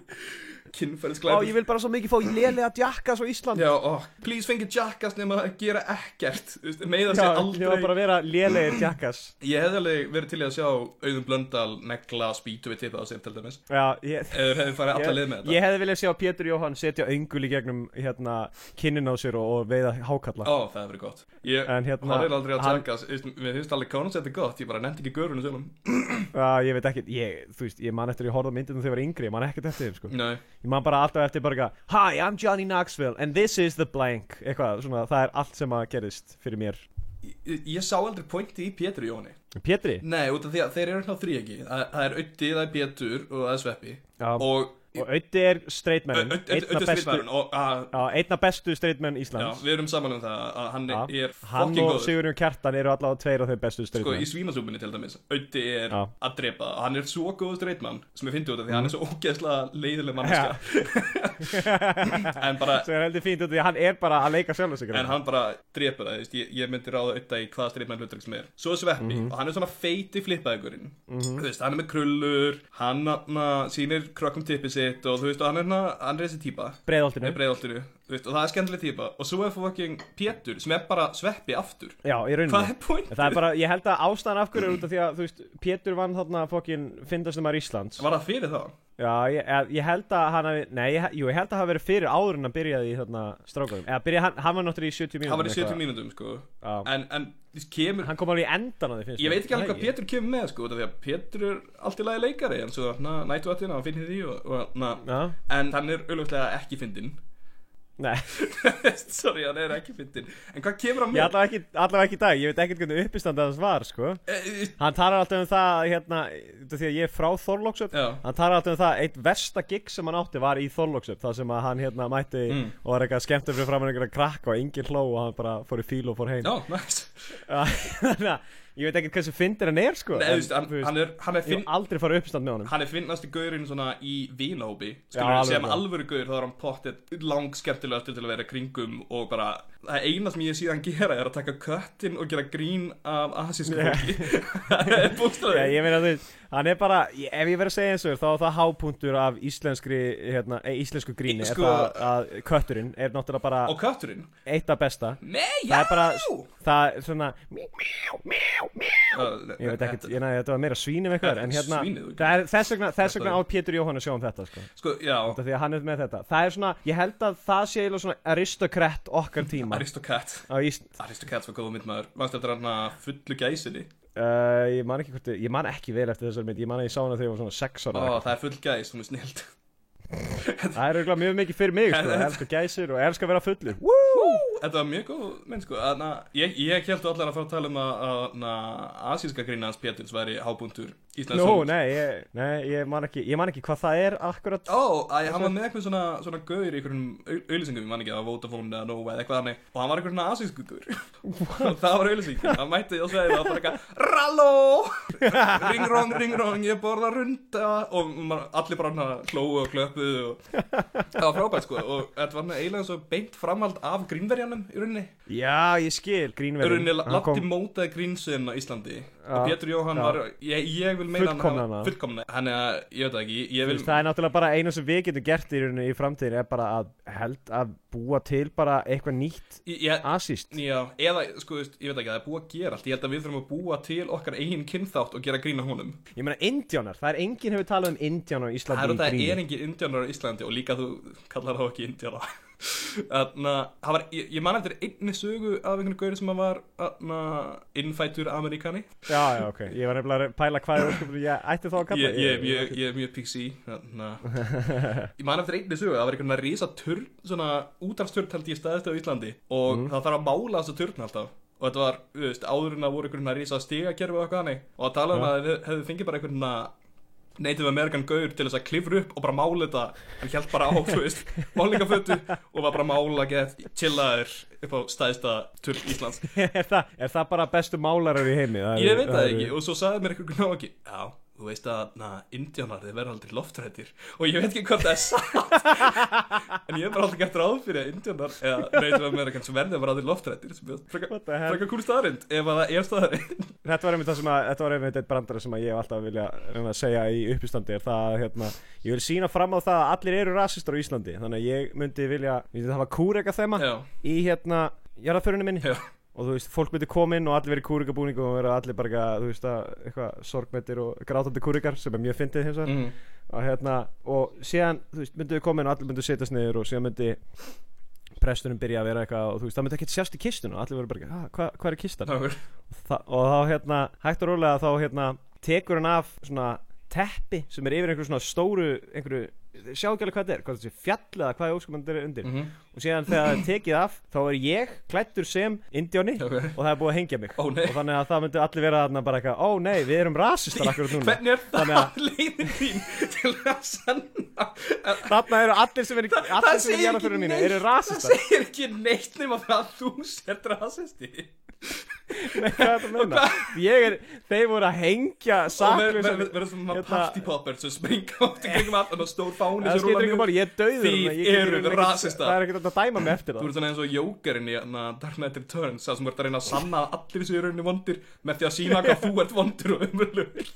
Ó, kynferðisglæp ég vil bara svo mikið fá lélega djakka svo Ísland já, oh, please fengi jackass nema að gera ekkert þú veist, Já, meiða ég sig var aldrei bara að vera lélegir djakkas ég hefði alveg verið til í að sjá auðum blöndal negla spýtu við tipið á sig til dæmis Já, ég eða hefði farið alla leið Ég, með þetta ég hefði viljað sjá Pétur Jóhann setja öngul í gegnum hérna kinnin á sér og, og veiða hákalla Ó, það hefur verið gott Ég En hérna, horfði aldrei að hann- taka Mér finnst alveg kónans þetta gott Ég bara nefndi ekki görunum sjálfum uh, Ég veit ekkert, ég, þú veist, ég man eftir að ég horfði á myndinu þegar ég var yngri, ég man ekkert eftir þeim sko Nei Ég man bara alltaf eftir bara eitthvað, Hi, I'm Johnny Knoxville and this is the blank Eitthvað, svona, það er allt sem að gerist fyrir mér Ég, ég- ég sá aldrei pointi í Pétur Jóni Pétri? Nei, út af því að þeir eru hérna þrý ekki Það það er Ötti, það er Pétur og það er Sveppi Já. Og Og Ötti er streitmennin Ötti Svipmæðurinn Og að, Einna bestu streitmenn já, Íslands við erum saman um það að hann Já. Hann er fucking og góður Sigurjón Kjartan eru allavega tveir af þeim bestu Sko, í streitmenn svínasúpunni til dæmis Ötti er Já. Mm. að drepa Hann er svo góð streitmann Sem ég fyndi út af því að hann er svo ógeðslega leiðileg [laughs] manneskja En bara Sem er heldur fínt út af því að hann er bara að leika sjálf sig En hann bara drepur það, þú veist, ég, ég myndi ráða auðvitað í hvaða streifmenn hlutverk sem er. Svo er Sveppi Mhm. og hann er svona feiti flippaðugurinn. Þú veist, hann er með krullur, hann na, sýnir krökkum tippið sitt og þú veist, og hann er, na, hann er þessi típa. Breiðoltinu Með breiðoltinu, þú veist, og það er skemmtileg típa. Og svo er fucking Pétur sem er bara Sveppi aftur. Já, í rauninni Hvað er pointið? Það er bara, ég held að ástæðan af hverju er út af því að, þú veist, Pétur vann þarna fokkin fyndastumar Íslands Var það fyrir þá? Já, ég, eh, ég held að hann hafi, nei, ég, jú, ég held að hafa verið fyrir áður en hann byrjaði í þarna strákarum Eða byrjaði, hann, hann var náttúrulega í 70 mínútur Hann var í 70 mínútum, sko. Já. En, en þú veist, kemur, Hann kom alveg í endan á því, finnst ég mér. veit ekki alveg hvað Nei, Pétur kemur með, sko, út af því að Pétur er allt í lagi leikari, en svo, na, nættu að hann finnir því og, og, na, Já, en hann er auðvitað ekki fyndinn [laughs] nei, Sorry, hann er ekki fyndinn En hvað kemur hann ég með? allavega ekki, allavega ekki í dag, ég veit ekkert hvernig uppistanda hans var, sko Eh, Hann talar alltaf um það, hérna, út af því að ég er frá Þorlóksöp Já. Hann talar alltaf um það, eitt versta gig sem hann átti var í Þorlóksöp Það sem að hann hérna mætti Mm. og var eitthvað skemmtur fyrir framann einhverja krakka og enginn hló og hann bara fór í fíl og fór heim Já, næst Já, [laughs] Þannig að ég veit ekkert hversu fyndir hann er sko Nei, þú veist, hann, þú veist, hann er, hann er Ég finn hef aldrei farið uppstand með honum Hann er finnasti gaurinn svona í vinahópi Já, Skilur, alveg sem það. alvöru gaur, þá er hann pottið lang skemmtilega til að vera í kringum og bara, það eina sem ég sé hann gera er að taka köttin og gera grín af asísku fólki Það [laughs] [laughs] er Já, bústræði ég meina þú veist, hann er bara ég- ef ég verið að segja eins og þér, þá er það hápunktur af íslenskri, hérna, e, íslensku gríni Sko- er það að kötturinn er náttúrulega bara Og kötturinn eitt af besta Nei, já það er bara, það er svona ég veit ekkert, ég næði þetta var meira svínum eitthvað Þetta en er hérna, svínið, þú- það er, þess vegna þess Þetta vegna á er- Pétur Jóhann að sjá um þetta sko, Sko, já, Þetta því að hann er með þetta, það er svona ég held að það sé eiginlega svona aristokrætt okkar tíma Aristocat á Ísland Aristocats var góða myndmaður Vannst eftir hann að fullu gæsinni Uh, ég man ekki hvort, ég ég man ekki vel eftir þessar mynd Ég man að ég sá hana þegar ég var svona 6 ára Ó, oh. það er full gæs, hún er snild Það er auðvitað mjög mikið fyrir [laughs] mig, sko En- Ég elska gæsir og elska að vera fullur Woo! Þetta var mjög góð mynd sko að, na, ég, ég held allar að fara að tala um að, að na, asíska grína hans Péturs væri hábúndur Íslands Nú, nei, ég, nei ég, man ekki, ég man ekki hvað það er akkurat Ó, að ég, hann var með eitthvað svona, svona gaur í einhverjum auðlýsingum, ég man ekki, það var Vodafone eða Nova eða eitthvað hannig Og hann var einhverjum svona asísku gaur [laughs] Það var auðlýsing, hann mætti og svæði það var bara eitthvað [laughs] Ralló, ringrong, ringrong, ég borða runda Og man, allir bara hann hlóu og [laughs] klöpuðu og Það var frábært sko og þetta var eiginlega svo beint framhald af grínverjanum í rauninni Já, ég skil, grínverðin Örunni Latti mótaði grínsinn á Íslandi og Pétur Jóhann já. var, ég, ég vil meina Fullkomnaði hana. fullkomna Þannig að, ég veit það ekki, ég vil Veist, það er náttúrulega bara eina sem við getum gert í rauninni í framtíðin er bara að held að búa til bara eitthvað nýtt ég, ég, asíst Já, eða, sko, þú veist, ég veit ekki, það er búið að gera allt Ég held að við þurfum að búa til okkar eigin kynþátt og gera grína honum Ég meina indjánar, það er enginn hefur talað um indjánar á Það Íslandi er í þetta gríni er engin indjánar á Íslandi og líka þú kallar þá ekki indjánar [laughs] Þarna, það var, ég, ég man eftir einni sögu af einhvern gauri sem að var þarna, innfættur ameríkani Já, já, ok Ég var nefnilega að pæla hvað er ósköpunum Ég ætti þá að kalla ég, ég, ég, ég er mjög pixi þarna. ég man eftir einni sögu það var einhvern veginn að risa turn svona útarfsturn held ég staðist á Íslandi og Mhm. það þarf að mála þessa turn alltaf og þetta var, þú veist, áður en að voru einhvern veginn að risa stigakerfi og eitthvað hannig og að tala um Já. að þeir hefðu fengið bara einhvern veginn Native American gaur til þess að klifra upp og bara mála þetta hann hjælt bara á, þú veist, málingafötu og var bara að mála gett chillaður upp á staðista turn Íslands [laughs] er, það, er það bara bestu málarar í heimi? Það Ég eru- veit það eru- ekki og svo sagði mér eitthvað ná ekki Já, þú veist að na, indjánar þeir verða aldrei loftrættir og ég veit ekki hvort það er [laughs] satt en ég hef bara aldrei gett ráð fyrir að indjánar eða reytum að mér kannski verða bara aldrei loftrættir sem er What the hell? frekar kúl staðarind ef að það er staðarind Þetta var einmitt það sem að Þetta var einmitt eitt brandari sem að ég hef alltaf vilja reyna að segja í uppistandi er það að hérna Ég vil sína fram á það að allir eru rasistar á Íslandi Þannig að ég myndi vilja Ég myndi hafa kúrega þema Já, í hérna Jarðaförunum minni já, og þú veist, fólk myndi koma inn og allir verið kúrikabúningu og verið allir bara, eitthvað, þú veist, að eitthvað sorgmættir og grátandi kúrikar sem er mjög fyndið hins vegar mm, og hérna, og síðan, þú veist, myndu við koma inn og allir myndu setjast niður og síðan myndi prestunum byrja að vera eitthvað og þú veist, það myndi ekki sjást í kistunum og allir verið bara, eitthvað, "Ah, hvað hva er kistan? nákvæmur Þa, og þá, hérna, hægt og rólega þá, hérna, tekur hann af svona teppi sem er yfir einhverju svona stóru, einhverju, sjá ekki alveg hvað þetta er, hvað þetta sé fjall eða hvað óskumandi er undir Mhm. og síðan þegar það er tekið af þá er ég klættur sem indjóni Ok. og það er búið að hengja mig Ó, nei. og þannig að það myndi allir vera þarna bara eitthvað ó nei, við erum rasistar akkurat núna Hvernig er það Þannig að- leiðin þín til að sanna að þarna eru allir sem eru allir sem eru segir gera ekki fyrir mínu neitt- eru það rasistar segir ekki neitt nema það að þú sért rasisti nei, hvað er það að meina ég er, þeir voru að hengja og verður saklausa ver, ver, svona Hérna- partypopper sem springa [laughs] út í kringum allan og stór það fáni sem skiptir rúlar ekki mjög máli, ég er döður Þið eruð rasistar. það er ekkert hægt að dæma mig eftir Þú það ert svona eins og jókerinn í na, Dark Knight Returns það sem þú ert að reyna að sanna að allir séu í rauninni vondir með því að sína hvað þú ert vondur og [laughs] umurlugur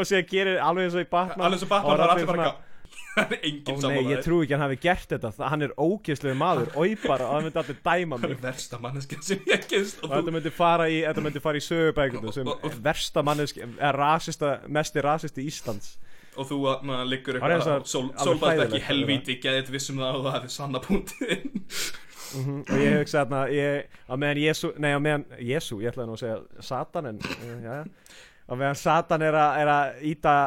og sér gerir alveg eins og í Batman allir sem Batman og var allir bara eitthvað, [laughs] það er Ó enginn nei, saman ég trú ekki að hann hafi gert þetta Það- Hann er ógeðslegu maður, oi bara og það myndi allir dæma það mig er versta manneskja sem ég kynst og og þetta þú myndi fara í þetta myndi fara í sögubækundum sem Og- og- versta manneski er rasista mesti rasisti Íslands og þú na, liggur Það er eins og- eitthvað sól, alveg sólbæðst ekki hræðilegt, helvíti geðið þetta vissum um það og það hefði sanna punktinn og ég hugsa þarna ég, að meðan Jésu nei að meðan Jésu ég ætlaði nú að segja Satan en eh, já, já. að meðan Satan er að, er að íta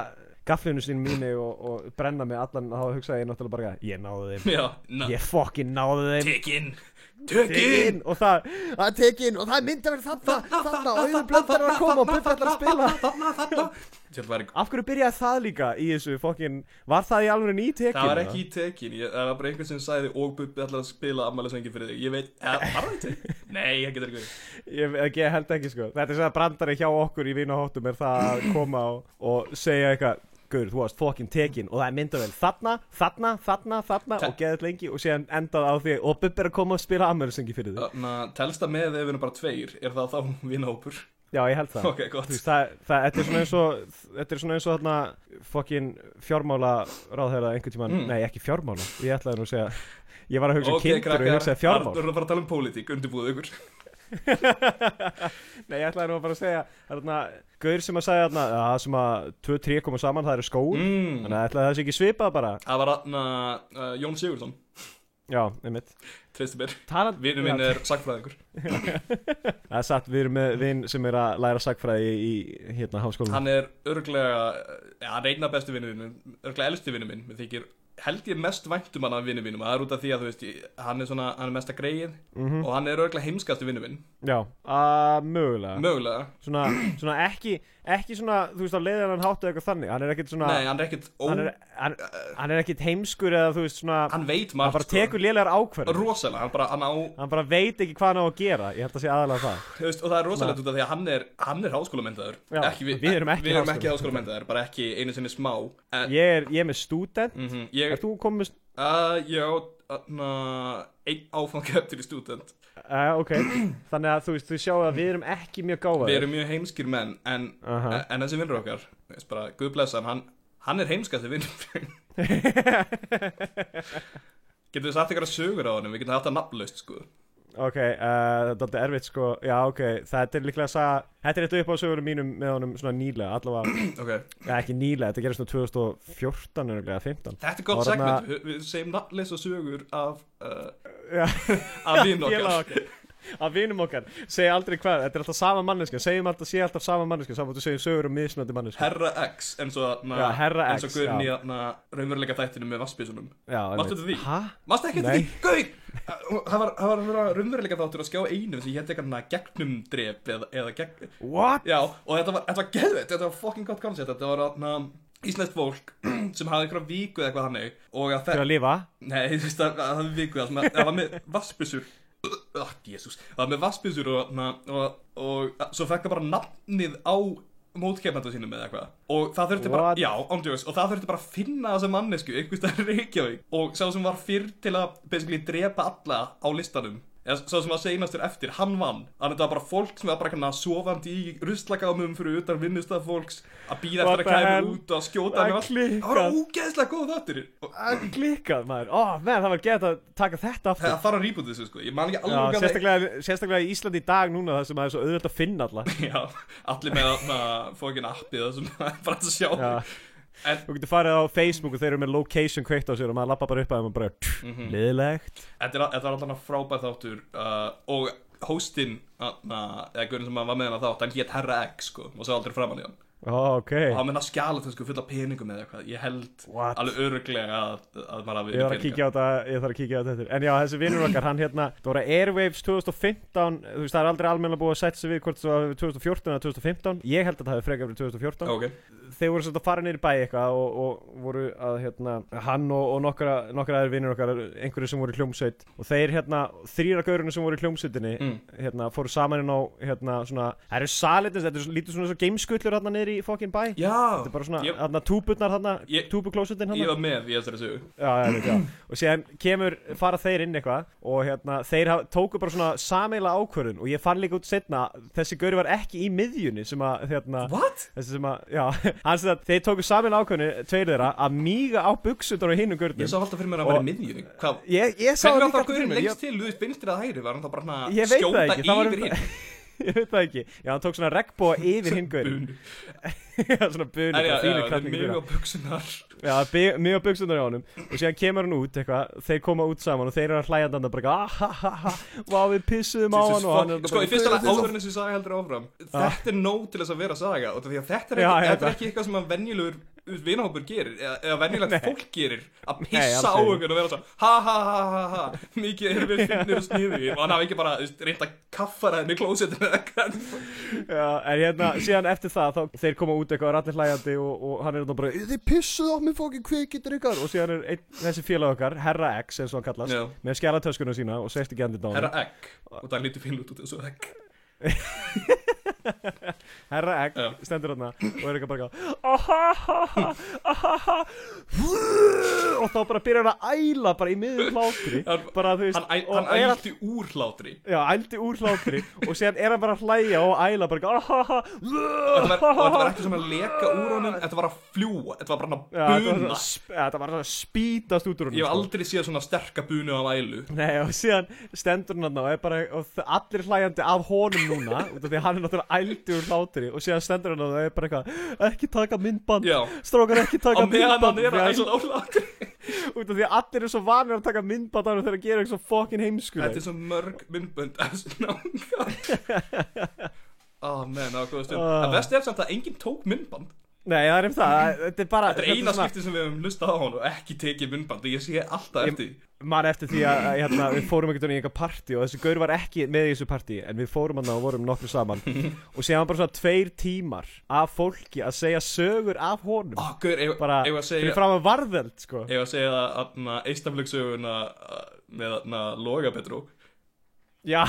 gaflinu sín mínu og, og brenna mig allan þá hugsaði ég náttúrulega bara ég náði þeim [laughs] já, na, ég fokkin náði þeim tekin tekin og það að tekin og það myndi verið þarna þarna og auðvitað blöndar að koma og bubballar að spila Þetta var ekki- af hverju byrjaði það líka í þessu fokkin var það í alveg ný tekin Það var ekki í tekin, ég, það var bara einhver sem sagði og Bubbi ætlar að spila ammælisvengi fyrir þig Ég veit, eða, var það í tekin? [laughs] Nei, það getur ekki verið Ég, ég, ég held ekki sko Þetta er sem að brandari hjá okkur í vinahóttum er það að koma og, og segja eitthvað Guður, þú varst fokkin tekin og það er myndavel þarna, þarna, þarna, þarna Ta- og geðið lengi og síðan endað á því og Bubbi er að koma og spila ammælisengi fyrir þig Þannig að telsta með ef við erum bara tveir, er það þá [laughs] vinahópur? Já, ég held það Ok, Þú gott veist, það, það, þetta er svona eins og þetta er svona eins og þarna fokkin fjármála ráðherra einhvern tímann Mm. nei, ekki fjármála, ég ætlaði nú að segja ég var að hugsa um Ok, kindur og ég krakkar, hugsaði fjármál Arnur er að fara að tala um pólitík, undirbúðu ykkur Nei, ég ætlaði nú bara að segja þarna, Gaur sem að sagði þarna að það sem að 2-3 koma saman það eru skór mm. Þannig að ætlaði það sé ekki svipað bara Það var aðna uh, Jón Sigurðsson, Já, einmitt treystu mér Talan... Vinnu minn er sagfræðingur Það er satt, við erum með vinn sem er að læra sagfræði í hérna háskólanum Hann er örglega, ja, hann reyna bestu vinnu minn, örglega elsti vinnu minn Mér þykir, held ég mest vænt um hann af vinnu mínum Það er út af því að þú veist, ég- hann er svona, hann er mesta greið Mhm. Og hann er örglega heimskastu vinnu minn, Já, að mögulega mögulega Svona, svona ekki, ekki svona, þú veist, á leiðan hann háttu eitthvað þannig Hann er ekkit svona Nei, hann er ekkert ó... Eh, hann, er, hann, hann er ekkit heimskur eða þú veist svona Hann, hann veit margt sko. bara tekur lélegar ákvörð Rosalega, hann bara, hann á Hann bara veit ekki hvað hann á að gera Ég held að sé aðalega það þú veist, Og það er rosalegt út af því að hann er, hann er háskólamentaður Já, við erum ekki Við erum ekki háskólamenntaðir. háskólamentaður, bara ekki einu sinni smá en, Ég er, ég er með student mm Ég, Er þú komið með uh, ég á na, einn áfang eftir í student Uh, ok, þannig að þú veist, þú sjáu að við erum ekki mjög gáfaðir Við erum mjög heimskir menn En, Aha. en þessi vinnur okkar, þú veist bara, guð blessa hann, hann, hann er heimskasti [laughs] vinnur Getum við satt ykkur að sögur á honum, við getum haft það nafnlaust sko Ok, uh, þetta er erfitt sko Já, ok, þetta er líklega að sagða Þetta er eitthvað upp á sögurum mínum með honum svona nýlega Allavega, Ok, ja, ekki nýlega, þetta gerist nú 2014 örugglega, 15 þetta er gott Og þarna- segment, við við segjum nafnleisa sögur af, uh, Já, af vinn félaga okkar. okkar Af vinum okkar, segja aldrei hvað Þetta er alltaf sama manneska, segjum alltaf, sé alltaf sama manneska Saman þú segir sögur um misnöndi manneska Herra X, eins og þarna, Já, Herra eins og X, Guðni, já. þarna, raunveruleika þættinu með vassbísunum. Já, Varstu einmitt. eftir því? Ha? Mást ekki Nei. eftir því, Gauð, það var, það var að vera raunveruleika þáttur að skjá einu sem hétt eitthvað svona gegnumdrep eða, eða gegn, What? já, og þetta var, þetta var geðveitt, þetta var fucking gott concept, þetta var þarna íslenskt fólk [clears throat] sem hafði einhverja viku eða eitthvað hannig og að Til þeir, að lifa? nei, þú veist að það hafði viku það sem að- það var með vassbísur, ah, jésús, það var með vassbísur og, þarna, og, og svo fekk það bara nafnið á mótkefnanda sínum eða eitthvað og það þurfti bara, What? já, ándjóðis og það þurfti bara að finna þessa mannesku einhvers staðar í Reykjavík og sá sem var fyrr til að basically drepa alla á listanum eða sá sem var seinastur eftir, hann vann þannig að þetta var bara fólk sem var bara kannar sofandi í ruslagámum fyrir utan vinnustaf fólks að býða What eftir the að hell? kæmi út og að skjóta hann Það og allt. það var klikkað. ógeðslega góð þáttur og Að Klikkað maður, ó, oh, menn, það var gett að taka þetta aftur það þarf að rýbúti þessu sko, ég man ekki Já, alveg hvað það- sérstaklega, sérstaklega í Íslandi í dag núna það sem það er svo auðvöld að finna alla [laughs] Já, allir með að fókin appið [laughs] það sem maður er bara að sjá Já. En Þú getur farið á Facebook og þeir eru með location kveikt á sér og maður lappa bara upp að þeim og bara Mhm. mm -hmm. liðlegt Þetta er, þetta er alltaf frábær þáttur uh, og hóstinn, þarna, eða gurinn sem var með hennar þátt, hann hétt Herra X sko, og svo aldrei framann í hann. Ó, ok, Og hann menna skjala þessu sko, fulla peningum eða eitthvað, ég held What? alveg öruglega að, að maður hafi ég þarf að kíkja á þetta, ég þarf að kíkja á þetta eftir. En já, þessi vinnur okkar, hann hérna, það voru Airwaves 2015, þú veist það er aldrei almenna búið að setja sig við hvort það var 2014 eða 2015 Ég held að það hefði frekar verið 2014 Ok, þeir voru svolítið að fara niður í bæ eitthvað og, og voru að hérna hann og, og nokkra, nokkra aðeir vinnir okkar einhverju sem voru í hljómsveit og þeir hérna þrýra gaurinu sem voru í hljómsveitinni Mm. hérna fóru saman inn á hérna svona það eru salitins, þetta er svo- lítur svona svo gameskullur hérna niður í fokkin bæ já, þetta er bara svona Ég- hérna túpurnar hérna Ég- túpuklósutin ég hérna var með í þessari sögu. já, já, já, já. og séðan kemur fara þeir inn eitthvað og hérna þeir haf, tóku bara svona sameila ákvörðun og ég fann líka út setna þessi gauri var ekki í miðjunni sem að hérna What? þessi sem að, já, [laughs] hans að þeir tóku samin ákvörðinu, tveir þeirra, að míga á buksundar og hinum Ég gurnum. sá alltaf fyrir mér að hann var í miðjunni. Hvað? Ég, ég sá það Hvernig var líka það alltaf fyrir gurinn mér, lengst ég, til, þú veist, vinstri eða hægri, var hann þá bara hann Ég að veit það skjóta ekki, það var um- yfir hinn? [laughs] ég veit það ekki, já, hann tók svona regnbóa yfir hinn gurinn, Bun. [laughs] já, svona bunið, En já, bara já, þínu það er klæðningu mjög á byrja. [laughs] buksunar. Já, bi- mjög á buksundar á honum, og síðan kemur hann út, eitthvað, þeir koma út saman og þeir eru að hlæja hann bara, eitthvað, ah, ha, ha, ha, vá, við pissuðum á hann og hann er Sko, í fyrsta lag bara, áður en þessi saga heldur áfram Þetta er nóg til þess að vera saga og því að þetta er Ah. Já, ég ekki, þetta er veit ekki eitthvað sem að venjulegur vinahópur gerir eða, eða venjulegt fólk gerir að Nei, pissa á aldrei. okkur og vera svona ha ha ha ha ha mikið erum við finnir og sniðir og hann hafi ekki bara þú veist, reynt að kaffara henni í klósetinu eða eitthvað já, en hérna, síðan eftir það, þá, þeir koma út eitthvað, og eru allir hlæjandi og, og hann er þarna bara, þið pissuðu á mig fókin kvikitur ykkar, og síðan er einn, þessi félag okkar, Herra X, eins og hann kallast, Já. með skjælatöskuna sína og safety gendit á hann Herra egg og það lítur fín út út þessu egg Herra Egg Já. stendur hann og er eitthvað bara eitthvað, ahaha, ahaha, vuu, og þá bara byrjar hann að æla bara í miðjum hlátri Hann- bara þú veist Hann, æ- og hann er ælti úr hlátri Já, ældi úr hlátri og síðan er hann bara að hlæja og æla bara eitthvað, ahaha, og þetta var, og þetta var vuu, ekki svona að leka úr honum þetta var að fljúa, þetta var bara Já, þetta að var buna svona sp- já, þetta var svona að spýtast út úr honum Ég hef sko. aldrei séð svona sterka bunu af ælu Nei, og síðan stendur hann þarna og er bara, og þ- allir hlæjandi af honum núna, [laughs] út af því að hann er náttúrulega ældi úr hlátri, og síðan stendur hann þarna og er bara eitthvað, ekki taka myndband, Já. strókar ekki taka á meðan myndband, hann er því að að- æla á [laughs] hlátri út af því að allir eru svo vanir að taka myndband á hann þegar að gera eitthvað svo fokkin Þetta heimskuleg er svo mörg myndbönd af þessu [laughs] náunga Á, menn, það var góða stund Ah. Það vest er samt að enginn tók myndband Nei, það er um það, [laughs] það- þetta er bara Þetta er eina skipti sem við höfum lustað á hann og ekki tekið myndband og ég sé alltaf Ég- eftir því. Man eftir því að að, hérna, við fórum einhvern veginn í einhver partí og þessi gaur var ekki með í þessu partí en við fórum hann og vorum nokkru saman og séðan bara svona tveir tímar af fólki að segja sögur af honum Ó, gaur, ef bara ef fyrir að segja fram að varðeld sko Ef að segja að eistaflöksöguna með að loga betrú Já,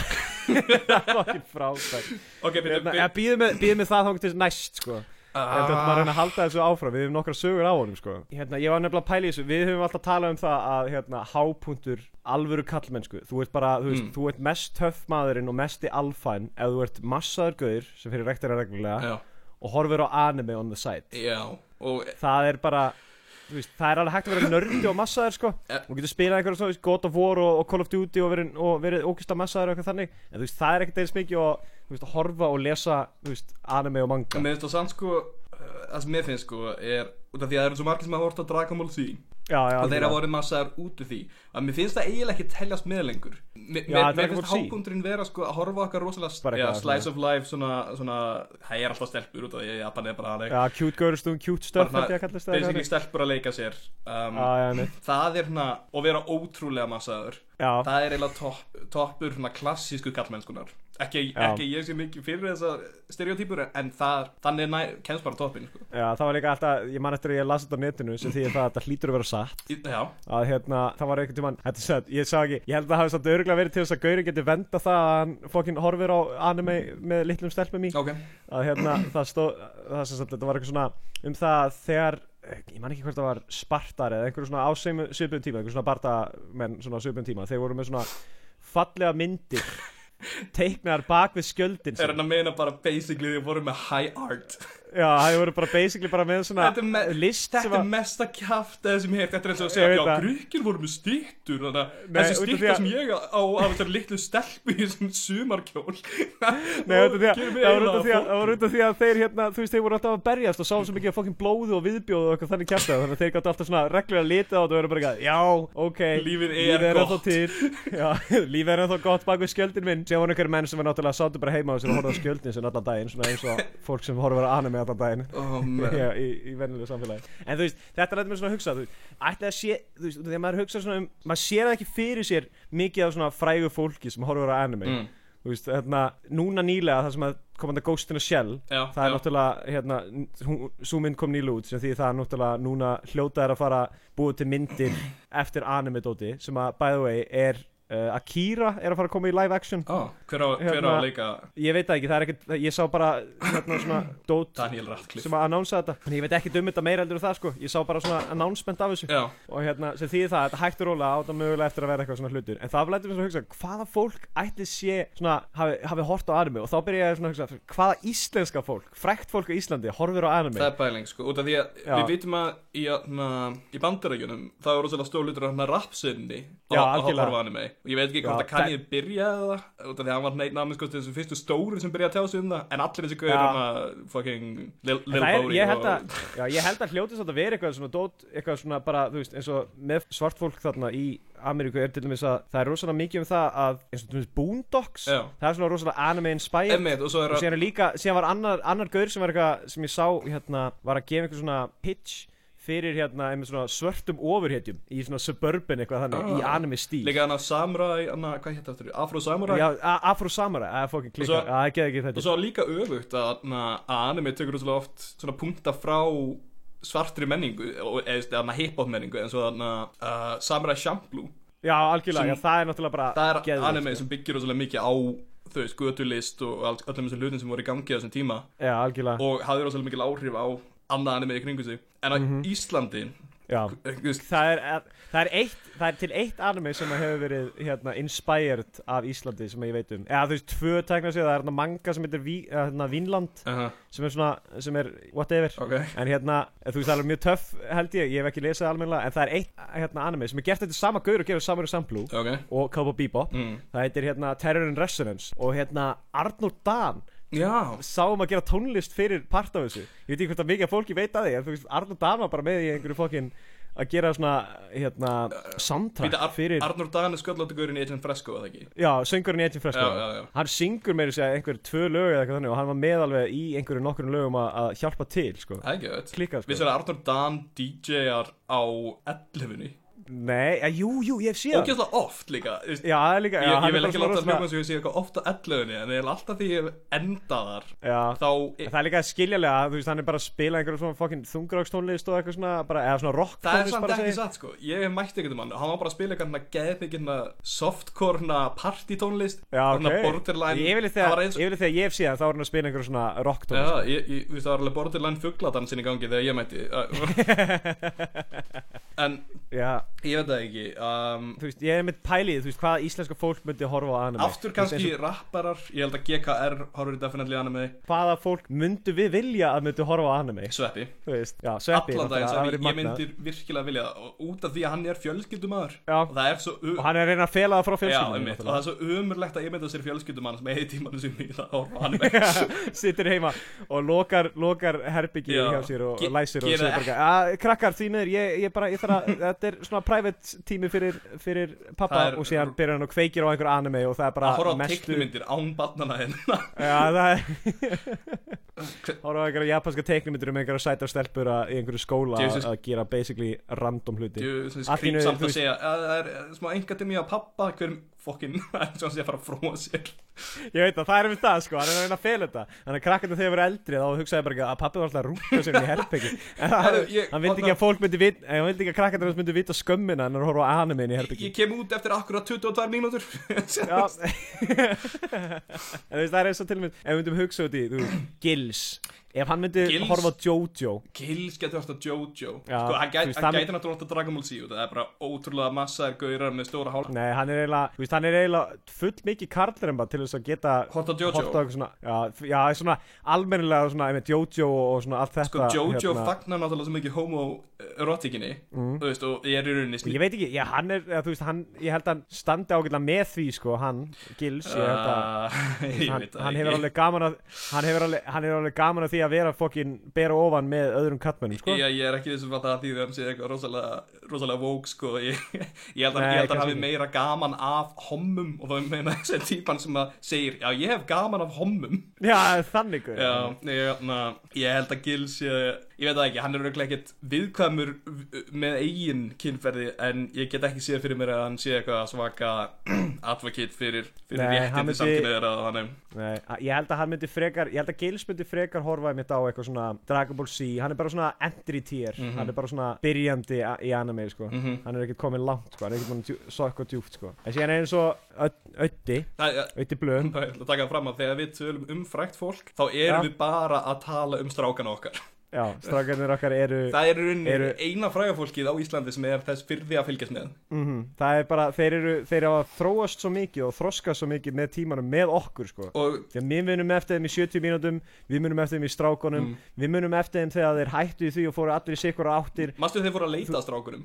[laughs] það var ekki frábært Ok, byrju, Ah, Hérna, Býðum við, býðum við það þá til næst sko Ég ætla að maður byrju reyna að halda þessu áfram, við hefum nokkra sögur á honum sko Ah. Hérna, ég var nefnilega að pæla í þessu, við höfum alltaf talað um það að hérna, hápunktur alvöru kallmennsku Þú ert bara, þú veist, Mm. þú ert mest töff maðurinn og mesti alfæn Ef þú ert massaður gaur, sem fyrir rektina reglulega Já, Og horfir á anime on the side já, og Það er bara, þú veist, það er alveg hægt að vera nördi og massaður sko Ja. og getur spilað einhverja svona, þú veist, God of War og, og Call of Duty og verið, og verið ókvist að massaður og eitthvað þannig en þú veist, það er ekkert eins mikið og þú veist, að horfa og lesa, þú veist, anime og manga Mér finnst það samt sko uh, Það sem mér finnst sko er Út af því að það eru svo margir sem hafa hort á Dragon Ball Z Já, já, Og þeir algjörlega. hafa orðið massaðar út úr því Að mér finnst það eiginlega ekki teljast með lengur Mér, Já, mér, mér Dragon finnst Ball Z. hábundurinn vera sko Að horfa á okkar Bara rosalega já, eitthvað Slice of life svona, svona Það er alltaf stelpur út af því að Japan er bara að leika Já, cute girlstum, cute stuff, held ég að kallast það basically eitthvað stelpur að leika sér um, Já, já, einmitt. Það er hérna Og vera ótrúlega massaður já, Það er eiginlega topp, toppur svona klassísku kallmennskunar ekki, Já. ekki ég sé mikið fyrir þessa stereotypur en það, þannig næ, kemst bara toppin sko. já, það var líka alltaf, ég man eftir að ég las þetta á netinu sem því að það, það hlýtur að vera satt Í- Já, að hérna, það var einhvern tímann þetta er sætt, ég sá ekki, ég held að það hafi samt örgulega verið til þess að Gauri geti venda það að hann fokkin horfir á anime með litlum stelpum í ok að hérna, það stóð, það sem sagt þetta var eitthvað svona um það að þegar ég man ekki hvort það var Spartar eða einhverjum svona á seimu- svipuðum tíma, einhverjum svona Bartamenn svona á svipuðum tíma, þeir voru með svona fallega myndir teiknar bak við skjöldin Er sín. hann að meina bara basically þið voru með high art já, þeir voru bara basically bara með svona Þetta er me- list sem Þetta var- er mesta kjaft eða sem hér Þetta er eins og að Ég segja, veit já, það. gríkir voru með stýttur Þannig að Nei, út af þessi því stýttur að- sem ég á á af þessari litlu stelpu í þessum sumarkjól Nei, þetta er því að, það var út af því að, það var út af því að þeir hérna, þú veist, þeir voru alltaf að berjast og sáum svo mikið af fokkin blóðu og viðbjóðu og eitthvað þannig kjartaði þannig að þeir gáttu alltaf svona reglulega litið á þetta og verið bara eitthvað, já, ok, Lífið er ennþá til, já, [laughs] lífið er ennþá gott bak við skjöldin minn, sér voru einhverjum menn sem var náttúrulega sátu bara heima á sér og horfði á skjöldin sinna allan daginn, svona eins og fólk sem horfður að anime allan daginn. því Já, í, í venjulegu samfélagi En þú veist, þetta lætur mér svona að hugsa þú veist, Ætli að sé, þú veist, þegar maður hugsa svona um Maður sér það ekki fyrir sér mikið af svona frægu fólki sem horfur á anime Mm. Þú veist, hérna, núna nýlega það sem að kom hann að Ghost in a Shell Já, Það er já. náttúrulega, hérna, n- hún- sú mynd kom nýlega út sem því það er náttúrulega núna hljóta er að fara búið til myndir eftir anime-dóti sem að, by the way, er uh, Akira er að fara að koma í live action Ó, Ah, Hver á hver á Hérna- að leika Ég veit það ekki, það er ekkert, ég sá bara hérna svona dót Daniel Radcliffe sem að annánsa þetta Þannig ég veit ekki um þetta meira heldur en það sko Ég sá bara svona announcement af þessu Já, Og hérna, sem þýðir það, þetta hægt og rólega átta mögulega eftir að vera eitthvað svona hlutur En það lætur mér svona að hugsa, hvaða fólk ætli sé svona, hafi, hafi hort á anime Og þá byrja ég svona að hugsa, hvaða íslenska fólk, frækt fólk á Íslandi, horfir á anime Það er bæling sko, út af því að Já. við vitum að í, na, í bandarækjunum það er rosalega stór hlutur af hérna rapsinni Já, að algjörlega. horfa anime og ég veit ekki hvort Já, að kannið það... byrjaði það út af því að hann var neitt námið sko þessu fyrstu stóru sem byrjaði að tjá sig um það en allir þessi gauður Já. hann að fucking Lil, En Lil það er, Bóri ég held að, já, ég held að hljóti samt að vera eitthvað svona dót, eitthvað svona bara, þú veist, eins og með svart fólk þarna í Ameríku er til dæmis að það er rosalega mikið um það að, eins og til dæmis Boondocks, Já. það er svona rosalega anime inspired Emmett og svo er og að síðan er líka, síðan var annar, annar gaur sem var eitthvað sem ég sá hérna, var að gefa einhver svona pitch fyrir hérna einmitt svona svörtum ofurhetjum í svona suburban eitthvað þannig, Ah. í anime stíl líka hann að Samurai, hann að, hvað hétt aftur, Afro Samurai Já, a- Afro Samurai, að fokkin klikka, Og svo- að það geði ekki og þetta svo líka öfugt að, na, að anime tekur rosalega oft svona punkta frá svartri menningu og- eða eða hip-hop menningu eins og þarna uh, Samurai Champloo Já, algjörlega, Sem- já, það er náttúrulega bara það er geðveikt, anime sko. sem byggir rosalega mikið á þau veist, götulist og all, öllum þessum hlutin sem voru í gangi á þessum tíma Já, algjörlega, og hafði rosalega mikil áhrif á annað anime í kringu sig en á Mhm. Íslandi eh, já þú veist, Það er, það, er eitt, það er til eitt anime sem að hefur verið hérna, inspired af Íslandi sem ég veit um eða þú veist, tvö tækna sig, það er hérna manga sem heitir Ví, eh, hérna, Vínland uh sem er svona, sem er whatever ok en hérna, þú veist, það er mjög töff held ég, ég hef ekki lesið almennilega en það er eitt hérna, anime sem er gert þetta sama gaur og gerir saman um samplú ok og Cowboy Bebop mm. það heitir hérna Terror and Resonance og hérna Arnur Dan já sáum að gera tónlist fyrir part af þessu ég veit ekki hvort að mikið af fólki veit að því en þú veist, Arnur Dan var bara með í einhverju fokkin að gera svona, hérna soundtrack Býta, Ar fyrir, Arnur Dan er sköllóttugurinn í Agent Fresco eða ekki já, söngurinn í Edgin Fresco Já, já, já. hann syngur meira sér einhver tvö lög eða eitthvað þannig og hann var með alveg í einhverju nokkrum lögum að, að hjálpa til, sko það er ekki öll Klikkað, sko. við sér að Arnur Dan DJ-ar á 11-unni nei, ja, jú, jú, ég hef séð hann. ógæslega oft líka þú veist, Já, það er líka já, ég, hann ég er vil bara ekki svona láta það rosalega- hljóma sem ég sé eitthvað oft á 11-unni en ég er alltaf því ég enda þar Já, þá það er líka skiljalega þú veist, hann er bara að spila einhverjum svona fucking þungragstónlist og eitthvað svona, bara, eða svona rock Það er samt ekki satt sko, ég hef mætt einhvern mann og hann var bara að spila eitthvað hérna geðbyggina softcore partytónlist Já, og ok hérna borderline Ég vil þegar, það var eins ég, vil þegar ég hef síðan, þá er hann að spila einhverjum svona rock Já, tónlist ég, ég, [laughs] þú veist það var alveg borderline fugladansin í gangi þegar ég mætti Æ, En Já, Ég veit það ekki um, þú veist, ég er mitt pælið, þú veist, hvað íslenska fólk myndi horfa á anime Aftur kannski rapparar Ég held að GKR horfir definitely anime Hvaða fólk myndu við vilja að myndu horfa á anime Sveppi Þú veist, já, sveppi Allan daginn náttúrulega, það Sveppi væri Ég magnað. myndir virkilega vilja það og Út af því að hann er fjölskyldumadur Já. Og það er svo u- Og hann er að reyna að fela það frá Já, fjölskyldunum einmitt, og það er svo umurlegt að ég mynda sér fjölskyldumann sem eigi tímanum sem ég að horfa á [laughs] anime Sittir heima og lokar, lokar herbyggi Já. hjá sér og, Ge- og læsir og gera segir bara að krakkar því miður, ég, ég bara, ég þarf [laughs] að, þetta er svona private tími fyrir, fyrir pappa Það er- og síðan byrjar hann og kveikir á einhver anime og það er að horfa bara á teiknumyndir án barnana hérna Já, það er [laughs] Horfa á einhverja japanska teiknumyndir um einhverja sætar stelpur að, í einhverju skóla Jesus. að gera basically random [laughs] hluti Allt í einu, skrýmsamt þú að veist- segja að það er eh, smá enga til mér að pappa hverjum fokkin [laughs] eins og hann sé að fara að fróa sér Ég veit að það er um það sko, hann er að reyna að fela þetta Þannig að krakkarnir þegar verið eldri þá hugsaði bara ekki að pappi var alltaf að rúka sér inn í [laughs] herbyggi En hann, Herru, ég- hann vildi ekki að fólk myndi vit, eh, hann vildi ekki að krakkarnir hans myndi vita skömmina en að horfa á anime inn í herbyggi Ég kem út eftir akkurat 22 mínútur [laughs] Já [laughs] En þú veist það er eins og til og með, ef við myndum hugsa út í, þú veist, Gils Ef hann myndi Gils? horfa á Jojo Gils getur alltaf Jojo Já, Sko, hann þú gæti veist, hann það- gæti náttúrulega alltaf Dragon Ball Z út Það er bara ótrúlega massa gaurar með stóra hálf Nei, hann er eiginlega, þú veist, hann er eiginlega full mikið karlremba til þess að geta Horft á Jojo. horft á eitthvað svona, já, já, svona almennilega svona, einmitt, Jojo og, og svona allt þetta hérna. Sko, Jojo fagnar náttúrulega svo mikið homoerotikinni Mm. Þú veist, og ég er í rauninni Ég sný veit ekki, já, hann er, eða, þú veist, hann, ég held að hann standi ágætlega með því, sko, hann, Gils, ég held að Ah, [laughs] ég hann, veit það hann ekki. hefur alveg sko- gaman að, hann hefur alveg, hann hefur alveg gaman að því að vera fokkin bera ofan með öðrum kattmennum, sko. Ég, ég er ekki vissum að það því hann sé eitthvað rosalega, rosalega vók sko [laughs] ég, ég held að, Nei, ég held að kannski hann hafi ekki. meira gaman af hommum og það meina [laughs] þessi típan sem að segir já ég hef gaman af hommum Já, þannig, guður. Já, ég, na, ég held að Gil sé ég veit það ekki, hann er auðvitað ekkert viðkvæmur v- með eigin kynferði en ég get ekki séð fyrir mér að hann sé eitthvað svaka [clears throat] advocate fyrir, fyrir Nei, hann réttindi myndi- samkynniðar að hann Nei, að- ég held að hann myndi frekar, ég held að Gils myndi frekar horfaði mitt á eitthvað svona Dragon Ball Z, hann er bara svona entry tier, Mhm. hann er bara svona byrjandi a- í anime, sko, hann er ekkert komin langt, sko, hann er ekkert mann djú, sokka djúpt, sko. En síðan er eins og Öd- Öddi, Það er Öddi Blöð, Það er að taka fram að þegar við tölum um frækt fólk þá Já. erum við bara að tala um strákan okkar já, strákarnir okkar eru, það, Það er rauninni eru... Eru- eina frægafólkið á Íslandi sem er þess fyrði að fylgjast með Mhm. það er bara, þeir eru, þeir hafa þróast svo mikið og þroskast svo mikið með tímanum með okkur, sko. og Því að við munum eftir þeim í 70 mínútum, við munum eftir þeim í strákonum, Mm. við munum eftir þeim þegar þeir hættu í því og fóru allir í sikkur áttir. mannstu þeir voru að leita að strákunum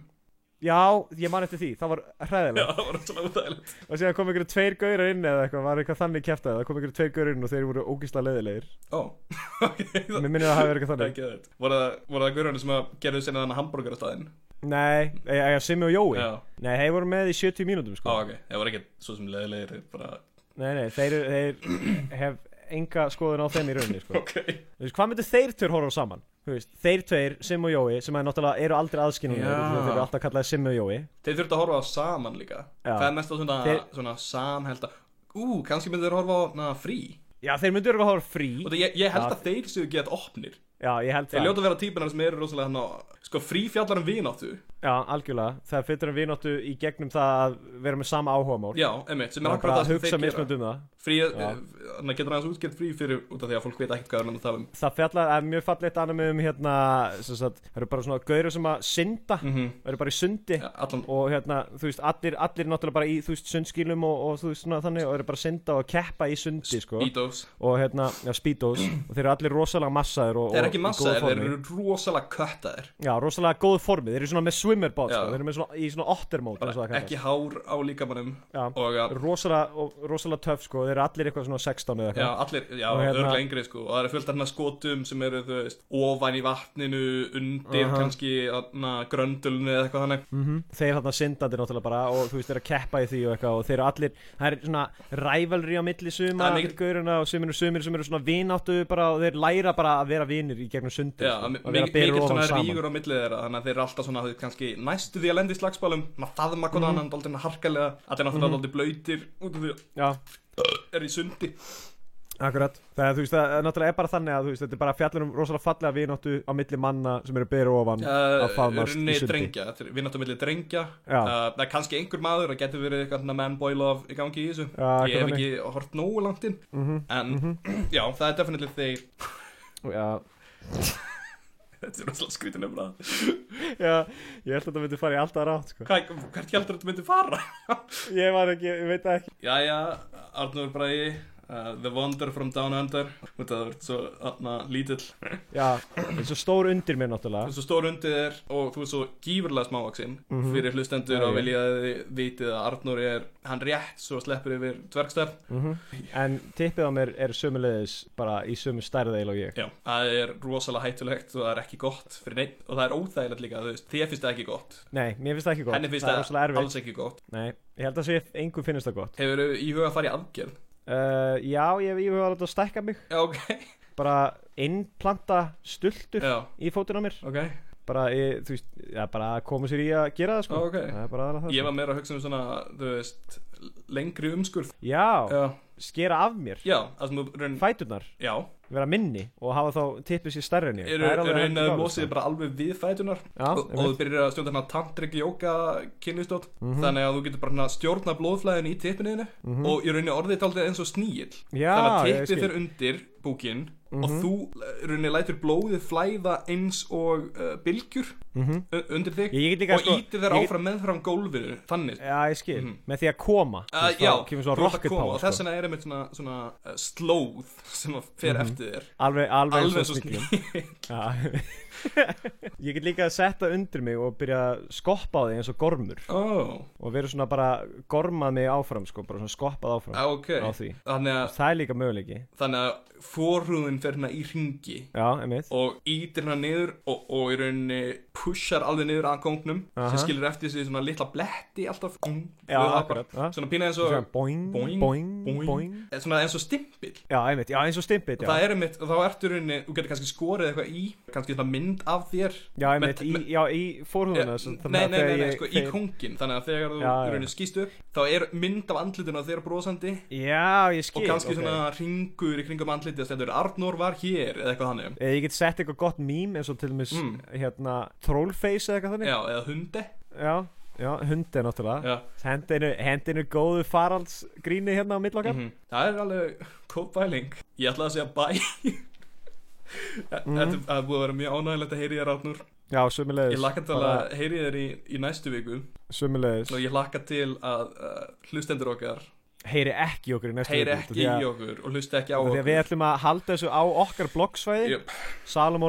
Já, ég man eftir því, það var hræðilegt. Já, það var svona útægilegt og síðan kom einhverju tveir gaurar inn eða eitthvað, var eitthvað þannig kæft það kom einhverju tveir gaurar inn og þeir voru ógisla leiðilegir Ó, [laughs] ok, það mér minnir að það hafi verið eitthvað það er þannig ekki þetta Voru það, voru það gaurinu sem að gerðu sinna þannig hambúrgarastæðin nei, eða Simmi og Jói Já. nei, þeir voru með í 70 mínútum Ó, sko ok, það voru ekki svo sem leðilegir bara, [laughs] nei, nei, þeir, þeir hef enga skoðun á þeim í rauninni sko. ok Þú veist, hvað myndir þeir tveir horfa á saman Þú veist, þeir tveir, Simmi og Jói sem er náttúrulega eru aldrei aðskinnum Já. þeir eru alltaf kallaði Simmi og Jói Þeir þurftu að horfa á saman líka Já. Það er mest að svona, Þeir- svona samhelda Ú, kannski myndu þeir horfa á na, frí já, þeir myndir eru að horfa á frí Og það, ég, ég held Já. að þeir séu gett opnir já, ég held Þeir það ljóta að vera típunar sem eru rosalega hann á Sko, frí fjallar um vináttu já, algjörlega, það fyrir við náttu í gegnum það að vera með sama áhugamál Já, emitt, sem er bara akkurat það að sem hugsa þeir gera mismönd um það Frí, þannig getur aðeins útgett frí fyrir út af því að fólk veit ekkert hvað er hann að tala um það fjallar er mjög fallegt anime um hérna sem sagt, það eru bara svona gaurur sem að synda það Mhm. eru bara í sundi Ja, Allan, og hérna þú veist allir, allir náttúrulega bara í þú veist sundskýlum og, og þú veist svona þannig og eru bara að synda og keppa í sundi sko Beatles og hérna já speedos og þeir eru allir rosalega massaðir og, Þeir og eru ekki í massa, góðu þeir formi. eru rosalega köttaðir já rosalega góð formi þeir eru svona með swimmerbát sko. Já. þeir eru með svona í svona ottermót eins og það kallast Ekki hár á líkamannum Já. Og að, rosalega, og- rosalega töff sko þeir eru allir eitthvað svona 16 eða já, eitthvað allir, já, Og hérna- örgla yngri sko Og það eru fullt af hérna skotum sem eru, þú veist Ofan í vatninu, undir Aha. kannski na, Gröndulni eða eitthvað þannig þeir þarna syndandi náttúrulega bara og þú veist þeir eru að keppa í því og eitthvað og þeir eru allir, það er svona rævalri á milli suma Það er mikill- gauruna og sumir og sumir sem eru svona vináttu bara og þeir læra bara að vera vinir í gegnum sundir Já, sko, að vera mikið að bera svona ofan saman rígur á milli þeirra Þannig að þeir eru alltaf svona, þú veist, kannski næstu því að lendi í slagsbálum Maður faðma Mhm. konan, mm -hmm. daldina harkalega Allir náttúrulega daldið blöytir Út af því að Já, er í sundi akkurat Það er þú veist, það er náttúrulega er bara þannig að þú veist þetta er bara fjallur um rosalega fallega vináttu á milli manna sem eru að bera ofan að faðmast Eh, Runni í sundi drengja, við náttúrulega millir drengja Já. uh, Það er kannski einhver maður, það getur verið eitthvað man-boy love í gangi í þessu Já, Ég hef eitthvað Mhm, ekki hort nógu langt inn [clears throat] En já, það er definitíð þeir Já [laughs] Þetta er rosalega skrítin umræða Já, ég held að þetta myndi fara í alltaf rátt sko. Hvað- Hvert heldur þetta myndi fara? [laughs] Ég var ekki, ég veit það ekki Jæja, Arnur Bræði uh, The Wonder from Down Under Þetta það verður svo atna, lítill Þú Já, eins og stór undir mér náttúrulega er svo stór undir þér og þú er svo gífurlega smávaksinn fyrir Mhm. hlustendur Já, og já. vilja að þið vitið að Arnur er hann rétt svo sleppur yfir dvergstær Mhm. En tippið á mér er sömulegis bara í sömu stærðeil og ég Já, það er rosalega hættulegt og það er ekki gott fyrir neitt og það er óþægilegt líka, þú veist, þér finnst það ekki gott Nei, mér finnst það ekki gott Henni finnst Það er rosalega það erfitt alls ekki gott Nei, ég held að sé engum finnst það gott Hefur þau í huga að fara í aðgerð? uh, Já, ég hef íhugað að láta stækka mig Já, [laughs] ok Bara innplanta stultur Já, í fótinn á mér ok Bara, ég, þú veist, já, bara að koma sér í að gera það sko Ó, ok. Það er bara aðra það sko. Ég var meira að hugsa um svona, þú veist, lengri umskurð Já, Já, skera af mér já, það sem þú raun Fæturnar, Já, vera minni og hafa þá tippið sér stærri en ég eru Það er er alveg er heldur einu mál, losið sko. bara alveg við fætunar Já, og, og þú byrjar að stjórna hérna tantrik jóka kynlistótt Mhm. þannig að þú getur bara hérna stjórna blóðflæðinu í tippinniðinu og í rauninni orðið taldið eins og sníill Já, þannig að ég tippið skil. Mhm. fyrir undir búkinn og þú eh, í rauninni lætur blóðið flæða eins og uh, bylgjur Mhm. u- undir þig Ég get líka, og sko, ítir þær ég get- áfram meðfram gólfinu þannig Já, ég skil, Mhm. með því að koma þú Uh, veist, já, þá kemur svona þú ert að rocket koma power og þess sko. vegna er einmitt svona, svona uh, slóð sem að fer Mhm. eftir þér Alveg, alveg, Alveg eins svo og sniglum [laughs] sníð Já [laughs] Ég get líka að setja undir mig og byrja að skoppa á því eins og gormur oh. og vera svona bara gormað mig áfram sko, bara svona skoppað áfram Ah, ok á því. Þannig að, Það er líka möguleiki þannig að forhúðin fer hérna í ringi Já, einmitt og ítir hérna niður og, og í rauninni pushar alveg niður að góngnum Aha. sem skilur eftir sig svona litla bletti alltaf góng, Já, og það akkurat, bara- ja. Svona pína eins og Svona boing, boing, boing, Eh, Svona eins og stimpill Já, einmitt, já, eins og stimpið Það já. er einmitt, þá ertu í rauninni, þú getur kannski skorið eitthvað í kannski svona mynd af þér já, einmitt, í, já, í fórhúðuna Eh, svo Nei, þannig að nei, nei, þegar nei, ég- sko, í þegar- kóngin Þannig að þegar þú Já, í já. rauninni skýst upp Þá er mynd af andlitinu að þeir brosandi Já, ég skil Og kannski ok. svona ringur í kringum andlitið að stendur Arnór var hér eða eitthvað þannig Eða Eh, ég get sett eitthvað gott mím eins og til dæmis Mm. hérna, trollface eða eitthvað þannig Já, eða hundi Já, já hundi náttúrulega Já. Hendinu, hendinu góðu faraldsgríni hérna á millokkar Mhm. Það er alveg góð bæling Ég ætlaði að segja bæ [laughs] Mhm. Þetta er- það er búið að vera mjög ánægilegt að heyri þér Arnur Já, sömulegis Ég lakka til að heyri þér í, í næstu viku Sömulegis Og ég lakka til að uh, hlustendur okkar Heyri ekki í okkur í næstu Heyri ekki í okkur og hlusta ekki á Því að við okkur ætlum að halda þessu á okkar bloggsvæði Jöp. Salomon